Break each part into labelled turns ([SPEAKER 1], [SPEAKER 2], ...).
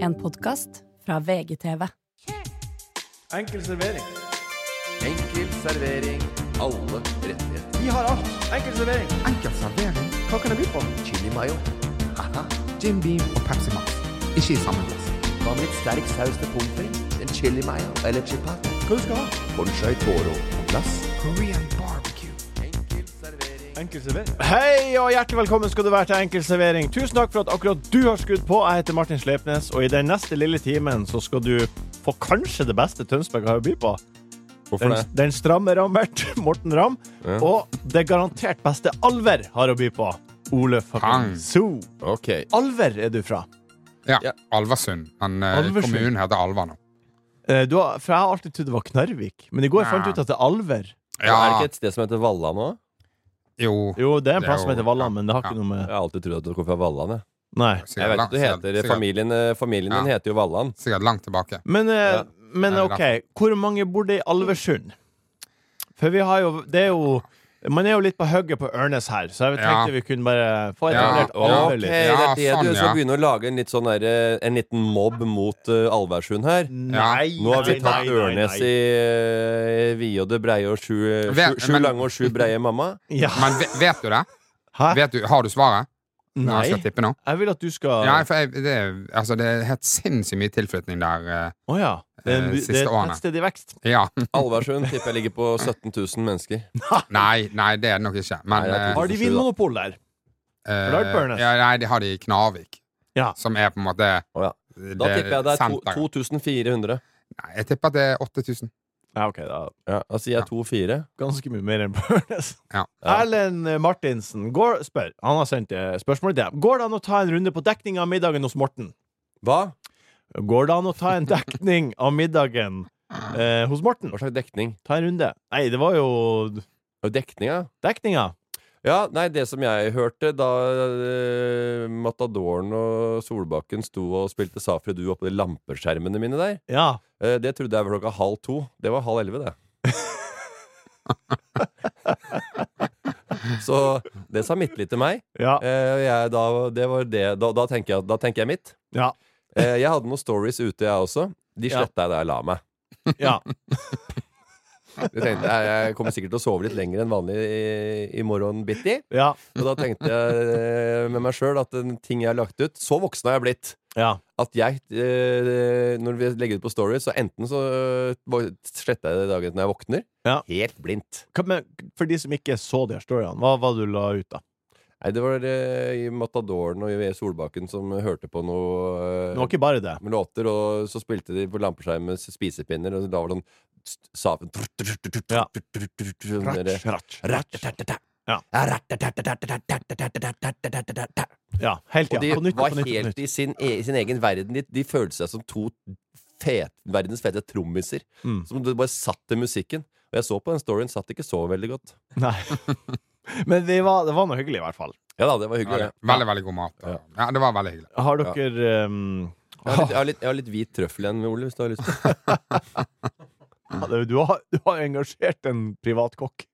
[SPEAKER 1] En podkast fra VGTV.
[SPEAKER 2] Enkel servering.
[SPEAKER 3] Enkel servering. Alle rettigheter.
[SPEAKER 2] Vi har alt. Enkel servering.
[SPEAKER 4] Enkel servering,
[SPEAKER 2] Hva kan jeg by på?
[SPEAKER 3] Chili mayo. Haha.
[SPEAKER 4] Jim Beam og Pepsi Max. Ikke i samme glass.
[SPEAKER 3] Hva med litt sterk saus til pommes frites? En chili mayo eller chipat?
[SPEAKER 2] Hva du skal ha?
[SPEAKER 3] Bonchai toro på glass.
[SPEAKER 4] Korean barbecue.
[SPEAKER 3] Enkel servering.
[SPEAKER 2] Enkel servering. Hei og hjertelig velkommen skal du være til Enkel servering. Tusen takk for at akkurat du har skrudd på. Jeg heter Martin Sleipnes, og i den neste lille timen så skal du få kanskje det beste Tønsberg har å by på. Den, den stramme Rammert, Morten Ramm,
[SPEAKER 5] Ja.
[SPEAKER 2] og det garantert beste Alver har å by på. Ole fucking
[SPEAKER 4] Hang.
[SPEAKER 2] Zoo.
[SPEAKER 5] Ok.
[SPEAKER 2] Alver er du fra.
[SPEAKER 4] Ja,
[SPEAKER 5] Ja.
[SPEAKER 4] Alversund. Men eh,
[SPEAKER 2] Alversund.
[SPEAKER 4] kommunen heter Alva nå.
[SPEAKER 2] Eh, Du har, for jeg har alltid trodd det var Knarvik, men i går fant jeg ut at det er Alver.
[SPEAKER 4] Ja,
[SPEAKER 5] Er det ikke et sted som heter Valla nå?
[SPEAKER 4] jo.
[SPEAKER 2] Jo, det er en
[SPEAKER 4] Det er
[SPEAKER 2] plass som
[SPEAKER 4] jo-
[SPEAKER 2] heter Valland, men det har
[SPEAKER 4] ja.
[SPEAKER 2] ikke noe
[SPEAKER 5] Jeg
[SPEAKER 2] med
[SPEAKER 5] har alltid trodd at du kom fra Vallan. Jeg,
[SPEAKER 2] Nei.
[SPEAKER 4] sikkert
[SPEAKER 5] jeg vet
[SPEAKER 4] langt-
[SPEAKER 5] ikke, du heter
[SPEAKER 4] sikkert-
[SPEAKER 5] Familien, eh, familien din
[SPEAKER 4] Ja.
[SPEAKER 5] heter jo Vallan.
[SPEAKER 4] Sikkert langt tilbake.
[SPEAKER 2] Men, eh,
[SPEAKER 5] Ja.
[SPEAKER 2] men
[SPEAKER 4] Nei, men
[SPEAKER 2] ok, hvor mange bor det i Alversund? For vi har jo Det er jo man er jo litt på hugget på Ørnes her, så jeg
[SPEAKER 4] Ja.
[SPEAKER 2] tenkte vi kunne bare få
[SPEAKER 4] Ja,
[SPEAKER 2] etablert Alver
[SPEAKER 5] Ok,
[SPEAKER 2] litt.
[SPEAKER 5] det
[SPEAKER 4] Ja,
[SPEAKER 5] er det
[SPEAKER 4] sånn,
[SPEAKER 5] du skal
[SPEAKER 4] ja.
[SPEAKER 5] begynne å lage en, litt sånn der, eh, en liten mobb mot eh, Alversund her.
[SPEAKER 2] Nei,
[SPEAKER 5] Nå har vi
[SPEAKER 2] nei,
[SPEAKER 5] tatt
[SPEAKER 2] nei, nei,
[SPEAKER 5] Ørnes
[SPEAKER 2] nei.
[SPEAKER 5] i eh, vide og breie og sju, eh,
[SPEAKER 4] Vet-
[SPEAKER 5] sju, sju
[SPEAKER 4] men-
[SPEAKER 5] lange og sju breie mamma.
[SPEAKER 2] ja.
[SPEAKER 4] Men ve- vet du det?
[SPEAKER 2] Hæ?
[SPEAKER 4] Vet du, har du svaret? Når
[SPEAKER 2] Nei.
[SPEAKER 4] jeg skal tippe nå?
[SPEAKER 2] Jeg vil at du skal
[SPEAKER 4] Ja, for jeg, det, er- altså, det er helt sinnssykt mye tilflytning der. eh.
[SPEAKER 2] Å ja. Det er,
[SPEAKER 4] Eh,
[SPEAKER 2] en- det
[SPEAKER 4] siste
[SPEAKER 2] er
[SPEAKER 4] årene.
[SPEAKER 2] et sted i vekst.
[SPEAKER 4] Ja.
[SPEAKER 5] Alversund tipper jeg ligger på 17 000 mennesker.
[SPEAKER 4] Nei, nei, det er det nok ikke. Men
[SPEAKER 5] Nei, det er
[SPEAKER 4] eh,
[SPEAKER 5] tusen.
[SPEAKER 2] Har de vinmonopol der?
[SPEAKER 4] eh,
[SPEAKER 2] for det er Børnes.
[SPEAKER 4] ja, Nei, de har de i Knarvik.
[SPEAKER 2] Ja.
[SPEAKER 4] Som er på en måte
[SPEAKER 5] Å, ja.
[SPEAKER 4] det
[SPEAKER 5] Da tipper jeg det er
[SPEAKER 4] senteret.
[SPEAKER 5] to- 2400.
[SPEAKER 4] Nei, jeg tipper at det er 8000.
[SPEAKER 2] Ja, ok, da
[SPEAKER 5] Ja, da sier jeg 2400.
[SPEAKER 2] ganske mye mer enn på Ørnes.
[SPEAKER 4] Ja.
[SPEAKER 2] Erlend Martinsen går, spør, han har sendt eh, spørsmål til deg. Går det an å ta en runde på dekning av middagen hos Morten?
[SPEAKER 5] Hva?
[SPEAKER 2] Går det an å ta en dekning av middagen eh, hos Morten?
[SPEAKER 5] Hva slags dekning?
[SPEAKER 2] Ta en runde. Nei, det var jo
[SPEAKER 5] Dekninga?
[SPEAKER 2] dekninga.
[SPEAKER 5] Ja, nei, det som jeg hørte da eh, Matadoren og Solbakken sto og spilte Safri Du oppå de lampeskjermene mine der,
[SPEAKER 2] Ja.
[SPEAKER 5] eh, det trodde jeg var klokka halv to. Det var halv elleve, det. Så det sa mitt litt til meg.
[SPEAKER 2] Ja.
[SPEAKER 5] Eh, jeg, da, det var det. Da, da, tenker jeg, da tenker jeg mitt.
[SPEAKER 2] Ja.
[SPEAKER 5] Eh, jeg hadde noen stories ute, jeg også. De
[SPEAKER 2] Ja.
[SPEAKER 5] sletta jeg da jeg la meg.
[SPEAKER 2] ja.
[SPEAKER 5] Jeg tenkte jeg, jeg kommer sikkert til å sove litt lenger enn vanlig i, i morgen bitti.
[SPEAKER 2] Ja.
[SPEAKER 5] Og da tenkte jeg eh, med meg sjøl at den ting jeg har lagt ut Så voksen har jeg blitt.
[SPEAKER 2] ja.
[SPEAKER 5] At jeg, eh, når vi legger ut på Story, så enten så eh, bare sletter jeg det dagen når jeg våkner.
[SPEAKER 2] Ja.
[SPEAKER 5] Helt blindt.
[SPEAKER 2] Hva med, for de som ikke så de her storyene, hva var det du la ut, da?
[SPEAKER 5] Nei, det var eh, i Matadoren og i Solbakken som hørte på noe eh,
[SPEAKER 2] Det var ikke bare det.
[SPEAKER 5] med låter, og så spilte de på lampeskjermen spisepinner, og da var det sånn st- saven
[SPEAKER 2] Ja.
[SPEAKER 5] Sånn der-
[SPEAKER 2] Ratsch, ratsch, ratsch. Ja.
[SPEAKER 5] Ja.
[SPEAKER 2] Ja, helt, ja.
[SPEAKER 5] Og de
[SPEAKER 2] På nytt,
[SPEAKER 5] var
[SPEAKER 2] på nytt, på
[SPEAKER 5] helt
[SPEAKER 2] nytt.
[SPEAKER 5] i sin, e sin egen verden. De, de følte seg som to fet, verdens fete trommiser.
[SPEAKER 2] Mm.
[SPEAKER 5] Som det bare satt til musikken. Og jeg så på den storyen, satt ikke så veldig godt.
[SPEAKER 2] Nei. Men det var, det var noe hyggelig, i hvert fall.
[SPEAKER 5] Ja da, det var
[SPEAKER 4] Ja,
[SPEAKER 5] hyggelig.
[SPEAKER 4] det-
[SPEAKER 5] det.
[SPEAKER 4] Veldig, veldig god mat. og- Ja, det var veldig hyggelig.
[SPEAKER 2] Har dere ehm,
[SPEAKER 5] Jeg har litt, jeg har litt, jeg har litt hvit trøffel igjen, Ole, hvis du har lyst. til
[SPEAKER 2] det- du, har, du har engasjert en privatkokk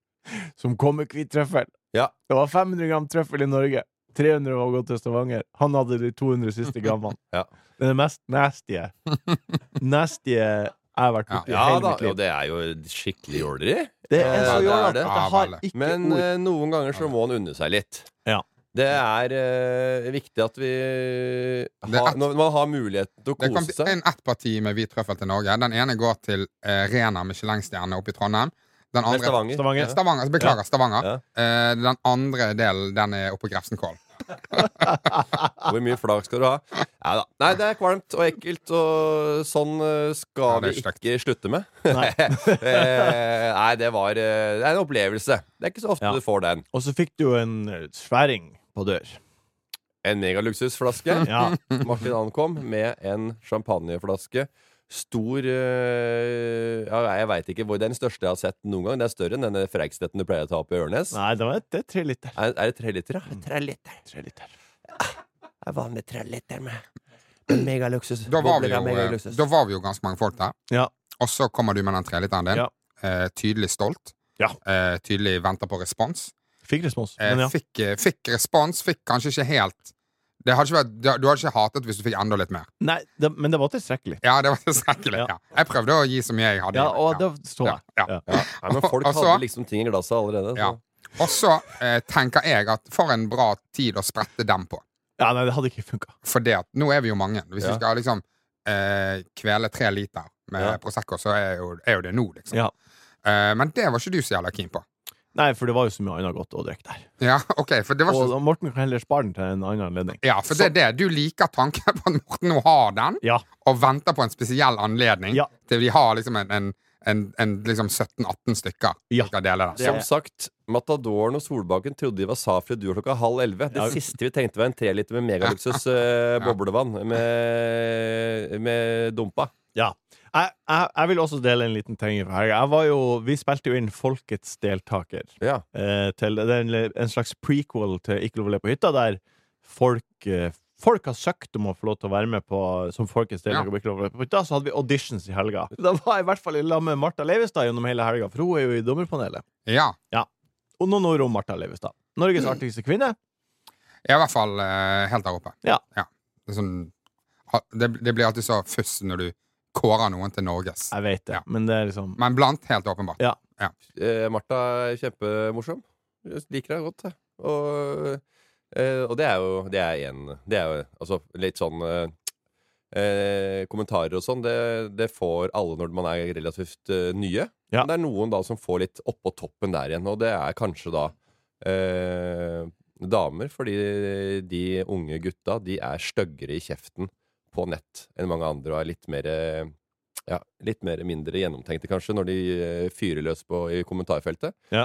[SPEAKER 2] som kom med hvit trøffel.
[SPEAKER 5] Ja.
[SPEAKER 2] Det var 500 gram trøffel i Norge. 300 var gått til Stavanger. Han hadde de 200 siste grammene.
[SPEAKER 5] Ja.
[SPEAKER 2] Det er det mest nasty nasty jeg har vært borti i
[SPEAKER 5] Ja
[SPEAKER 2] hele
[SPEAKER 5] da,
[SPEAKER 2] mitt
[SPEAKER 5] og
[SPEAKER 2] liv.
[SPEAKER 5] det er jo skikkelig jåleri.
[SPEAKER 2] Det er så
[SPEAKER 5] Ja, det er
[SPEAKER 2] jålete
[SPEAKER 5] det.
[SPEAKER 2] at
[SPEAKER 4] Ja,
[SPEAKER 2] jeg har
[SPEAKER 4] veldig.
[SPEAKER 2] ikke
[SPEAKER 5] Men
[SPEAKER 2] ord.
[SPEAKER 5] eh, noen ganger så må en unne seg litt.
[SPEAKER 2] Ja.
[SPEAKER 5] Det er eh, viktig at vi
[SPEAKER 4] Det
[SPEAKER 5] har,
[SPEAKER 4] er-
[SPEAKER 5] Når man har muligheten til
[SPEAKER 4] Det
[SPEAKER 5] å
[SPEAKER 4] kom
[SPEAKER 5] kose seg.
[SPEAKER 4] en ett parti med hvit trøffel til Norge. Den ene går til eh, Rena Michelin-stjerne oppe i Trondheim. Den
[SPEAKER 5] Med
[SPEAKER 4] andre
[SPEAKER 5] Stavanger.
[SPEAKER 2] Stavanger.
[SPEAKER 4] Eh, Stavanger, Beklager, Stavanger.
[SPEAKER 5] Ja.
[SPEAKER 4] Eh, den andre delen den er oppe i Grefsenkål.
[SPEAKER 5] Hvor mye flak skal du ha? Nei da. Nei, det er kvalmt og ekkelt, og sånn eh, skal
[SPEAKER 4] Ja, det er
[SPEAKER 5] vi
[SPEAKER 4] stygt.
[SPEAKER 5] ikke slutte med.
[SPEAKER 2] Nei.
[SPEAKER 5] Eh, Nei, det var eh, Det er en opplevelse. Det er ikke så ofte
[SPEAKER 2] Ja.
[SPEAKER 5] du får den.
[SPEAKER 2] Og så fikk du jo en eh, sværing på dør.
[SPEAKER 5] En megaluksusflaske.
[SPEAKER 2] Ja.
[SPEAKER 5] Martin ankom med en champagneflaske. Stor eh, ja, Jeg veit ikke hvor. Det er den største jeg har sett noen gang. Det er større enn denne Freikstetten du pleier å ta opp i Ørnes.
[SPEAKER 2] Nei, det var et det er tre liter.
[SPEAKER 5] Er, er det tre liter,
[SPEAKER 4] Mm.
[SPEAKER 5] da? Tre liter.
[SPEAKER 2] Tre liter.
[SPEAKER 5] Det er vanlig tre liter med, med megaluksus.
[SPEAKER 4] Da var, vi
[SPEAKER 5] Bobler
[SPEAKER 4] jo,
[SPEAKER 5] av
[SPEAKER 4] eh,
[SPEAKER 5] megaluksus.
[SPEAKER 4] da var vi jo ganske mange folk der.
[SPEAKER 2] Ja.
[SPEAKER 4] Og så kommer du med den treliteren din.
[SPEAKER 2] Ja.
[SPEAKER 4] Eh, tydelig stolt.
[SPEAKER 2] Ja.
[SPEAKER 4] Eh, tydelig venter på respons.
[SPEAKER 2] Fikk respons.
[SPEAKER 4] Eh,
[SPEAKER 2] Men ja.
[SPEAKER 4] fikk, eh, fikk respons, fikk kanskje ikke helt Det hadde ikke vært, du du hadde ikke hatet hvis du fikk enda litt mer.
[SPEAKER 2] Nei, det, men det var tilstrekkelig.
[SPEAKER 4] Ja, det var tilstrekkelig.
[SPEAKER 2] Ja.
[SPEAKER 4] Ja. Jeg prøvde å gi så mye jeg hadde.
[SPEAKER 2] Ja, og det så
[SPEAKER 4] ja.
[SPEAKER 2] jeg.
[SPEAKER 4] Ja.
[SPEAKER 2] Ja.
[SPEAKER 5] Ja. Nei, men folk
[SPEAKER 4] Og så-
[SPEAKER 5] hadde liksom ting i glasset allerede. Så.
[SPEAKER 4] Altså, Ja.
[SPEAKER 2] Altså-
[SPEAKER 4] Og så eh, tenker jeg at for en bra tid å sprette dem på.
[SPEAKER 2] Ja, nei, det hadde ikke funka.
[SPEAKER 4] For det at nå er vi jo mange. Hvis
[SPEAKER 5] Ja.
[SPEAKER 4] du skal liksom eh, kvele tre liter med
[SPEAKER 5] Ja.
[SPEAKER 4] Prosecco, så er jo, er jo det nå, liksom.
[SPEAKER 2] Ja.
[SPEAKER 4] Eh, men det var ikke du så jævla keen på.
[SPEAKER 2] Nei, for det var jo så mye annet godt å drikke der.
[SPEAKER 4] Ja, ok, for det var ikke
[SPEAKER 2] Og Morten kan heller spare den til en annen anledning.
[SPEAKER 4] Ja, for det er det. Du liker tanken på at Morten nå har den,
[SPEAKER 2] Ja.
[SPEAKER 4] og venter på en spesiell anledning
[SPEAKER 2] Ja.
[SPEAKER 4] til de har liksom en, en, en, en liksom 17-18 stykker
[SPEAKER 2] Ja.
[SPEAKER 4] som skal dele det.
[SPEAKER 2] Det-
[SPEAKER 5] Som sagt, Matadoren og Solbakken trodde de var Safri og Duo klokka halv elleve. Det
[SPEAKER 2] Ja.
[SPEAKER 5] siste vi trengte, var en treliter med megaluksus eh, boblevann med, med dumpa.
[SPEAKER 2] Ja. Jeg, jeg, jeg vil også dele en liten ting fra helga. Jeg var jo, Vi spilte jo inn Folkets deltaker.
[SPEAKER 5] Ja.
[SPEAKER 2] Eh, til det er en, en slags prequel til Ikke lov å le på hytta, der folk, eh, folk har søkt om å få lov til å være med på som Folkets deltaker. på Ikke lov å le på hytta, Så hadde vi auditions i helga. Da var jeg i hvert fall i lag med Martha Leivestad gjennom hele helga, for hun er jo i dommerpanelet.
[SPEAKER 4] Ja.
[SPEAKER 2] Og noen ord om Martha Leivestad. Norges
[SPEAKER 4] Mm.
[SPEAKER 2] artigste kvinne.
[SPEAKER 4] Jeg er i hvert fall eh, helt der oppe.
[SPEAKER 2] Ja.
[SPEAKER 4] Det, er sånn, ha- det, det blir alltid så fuss når du kårer noen til Norges.
[SPEAKER 2] Jeg vet det,
[SPEAKER 4] Ja.
[SPEAKER 2] men det er liksom
[SPEAKER 4] Men blant, helt åpenbart.
[SPEAKER 2] Ja.
[SPEAKER 5] Eh, Martha er kjempemorsom. Jeg liker deg godt. jeg. Og, eh, og det er jo Det er en Det er jo altså litt sånn eh, eh, Kommentarer og sånn, det, det får alle når man er relativt eh, nye.
[SPEAKER 2] Ja.
[SPEAKER 5] Men Det er noen da som får litt oppå toppen der igjen, og det er kanskje da eh, damer, fordi de unge gutta de er styggere i kjeften på nett enn mange andre og er litt mer eh, ja, litt mer mindre gjennomtenkte, kanskje, når de eh, fyrer løs på i kommentarfeltet.
[SPEAKER 2] Ja.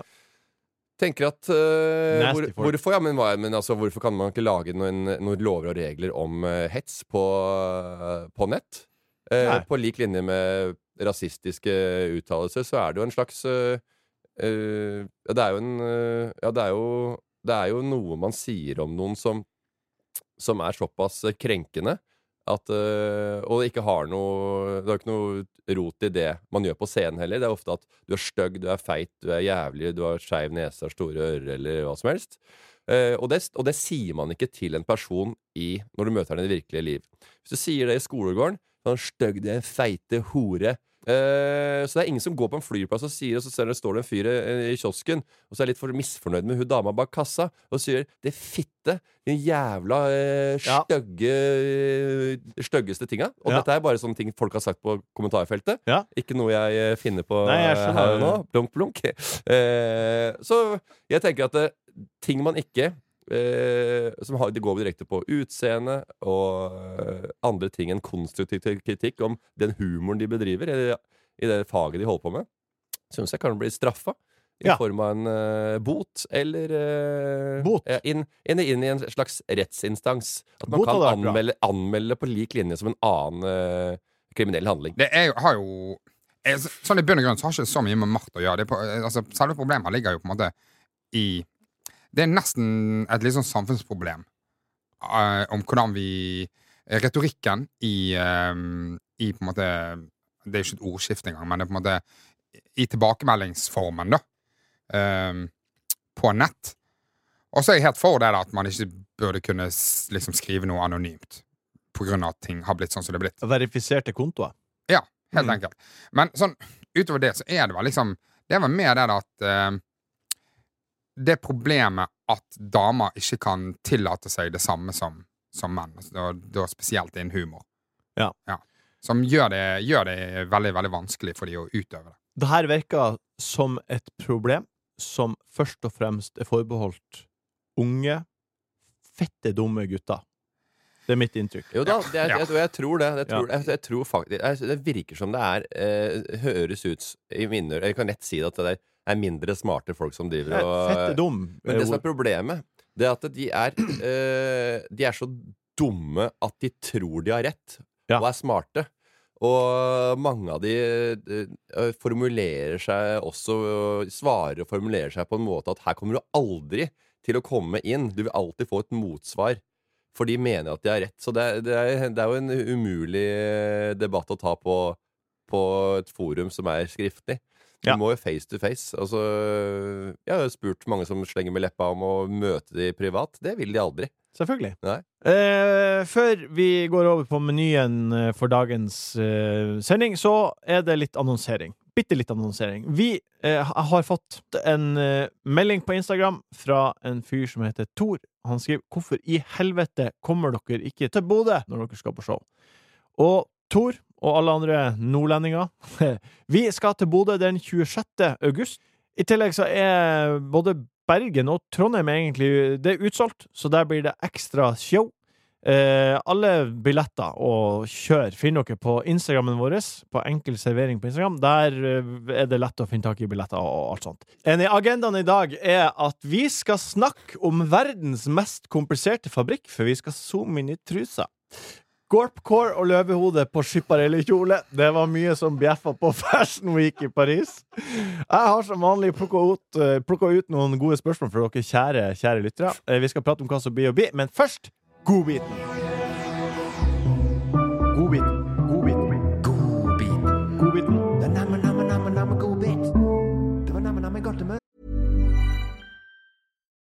[SPEAKER 5] Tenker at eh, hvor,
[SPEAKER 2] Nasty folk.
[SPEAKER 5] hvorfor, ja, men, hva- men altså, hvorfor kan man ikke lage noen, noen lover og regler om eh, hets på, eh, på nett? Eh,
[SPEAKER 2] Nei.
[SPEAKER 5] på lik linje med rasistiske uttalelser, så er det jo en slags eh, eh, ja, Det er jo en eh, Ja, det er jo, det er jo noe man sier om noen som, som er såpass eh, krenkende at, eh, og det ikke har noe Det har ikke noe rot i det man gjør på scenen heller. Det er ofte at du er stygg, du er feit, du er jævlig, du har skeiv nese, har store ører, eller hva som helst. Eh, og, det, og det sier man ikke til en person i, når du møter henne i det virkelige liv. Hvis du sier det i skolegården sånn Stygg, det er feite hore. Eh, så det er ingen som går på en flyplass og sier Og så ser du, står det en fyr eh, i kiosken og så er jeg litt for misfornøyd med hun dama bak kassa og sier 'det fitte', de jævla eh,
[SPEAKER 2] Ja.
[SPEAKER 5] stygge eh, styggeste tinga. Og
[SPEAKER 2] Ja.
[SPEAKER 5] dette er bare sånne ting folk har sagt på kommentarfeltet.
[SPEAKER 2] Ja.
[SPEAKER 5] Ikke noe jeg eh, finner på
[SPEAKER 2] Nei, jeg
[SPEAKER 5] eh,
[SPEAKER 2] skjønner.
[SPEAKER 5] her og nå. Blunk, blunk. Eh, så jeg tenker at eh, ting man ikke eh, som har, det går direkte på utseende og eh, andre ting enn konstruktiv til- kritikk om den humoren de bedriver i det, i det faget de holder på med, syns jeg kan bli straffa. I
[SPEAKER 2] Ja.
[SPEAKER 5] form av en eh, bot, eller eh,
[SPEAKER 2] Bot.
[SPEAKER 5] ja, inn, inn, inn i en slags rettsinstans. At man
[SPEAKER 2] Bot
[SPEAKER 5] kan
[SPEAKER 2] hadde vært bra.
[SPEAKER 5] anmelde, anmelde på lik linje som en annen eh, kriminell handling.
[SPEAKER 4] Det er jo, har jo er, så- Sånn i bunn og grunn så har ikke det så mye med makt å gjøre. Det er på, altså, selve problemet ligger jo på en måte i Det er nesten et litt sånn samfunnsproblem eh, om hvordan vi Retorikken i, eh, i på en måte Det er jo ikke et ordskifte engang, men det er på en måte i tilbakemeldingsformen, da. eh, på nett. Og så er jeg helt for det da, at man ikke burde kunne s- liksom, skrive noe anonymt på grunn av at ting har blitt sånn som det er blitt.
[SPEAKER 2] verifiserte kontoer.
[SPEAKER 4] Ja, helt
[SPEAKER 2] Mm.
[SPEAKER 4] enkelt. Men sånn, utover det så er det vel liksom Det er vel mer det da at eh, Det problemet at damer ikke kan tillate seg det samme som, som menn, altså, da, da spesielt innen humor,
[SPEAKER 2] Ja.
[SPEAKER 4] som gjør det, gjør det veldig veldig vanskelig for de å utøve det.
[SPEAKER 2] Det her virker som et problem som først og fremst er forbeholdt unge, fette dumme gutter. Det er mitt inntrykk.
[SPEAKER 5] Jo da, det er,
[SPEAKER 4] Ja.
[SPEAKER 5] jeg, og jeg tror det. Jeg tror,
[SPEAKER 2] Ja.
[SPEAKER 5] jeg, jeg tror faktisk, jeg, det virker som det er eh, Høres ut i mine ører Jeg kan lett si det at det der er mindre smarte folk som driver og
[SPEAKER 2] Fette dum.
[SPEAKER 5] Men det som
[SPEAKER 2] er
[SPEAKER 5] er problemet, det er at de er, eh, de er så dumme at de tror de har rett,
[SPEAKER 2] Ja.
[SPEAKER 5] og er smarte. Og mange av de eh, formulerer seg også Svarer og formulerer seg på en måte at her kommer du aldri til å komme inn. Du vil alltid få et motsvar. For de mener at de har rett. Så det er, det er, det er jo en umulig eh, debatt å ta på, på et forum som er skriftlig. Du
[SPEAKER 2] Ja.
[SPEAKER 5] må jo face to face. Altså, jeg har jo spurt mange som slenger med leppa om å møte de privat. Det vil de aldri.
[SPEAKER 2] Selvfølgelig.
[SPEAKER 5] Nei.
[SPEAKER 2] Eh, før vi går over på menyen eh, for dagens eh, sending, så er det litt annonsering. Bitte litt annonsering. Vi eh, ha- har fått en eh, melding på Instagram fra en fyr som heter Tor. Han skriver 'Hvorfor i helvete kommer dere ikke til Bodø når dere skal på show?' Og Tor og alle andre nordlendinger, vi skal til Bodø den 26. august. I tillegg så er både Bergen og Trondheim er egentlig Det er utsolgt, så der blir det ekstra show. Eh, alle billetter og kjør finner dere på Instagrammen vår, på Enkel servering på Instagram. Der eh, er det lett å finne tak i billetter og alt sånt. En i agendaen i dag er at vi skal snakke om verdens mest kompliserte fabrikk, for vi skal zoome inn i trusa. Gorpcore og løvehode på skipperellekjole. Det var mye som bjeffa på Fashion Week i Paris. Jeg har som vanlig plukka ut, eh, plukket ut noen gode spørsmål for dere kjære, kjære lyttere. Eh, Vi skal prate om hva som blir å bli, men først godbiten. Godbiten. Godbiten.
[SPEAKER 3] Godbit.
[SPEAKER 2] Godbiten.
[SPEAKER 3] Det er namme, namme, namme, namme godbit. Det var namme, namme godtemøte.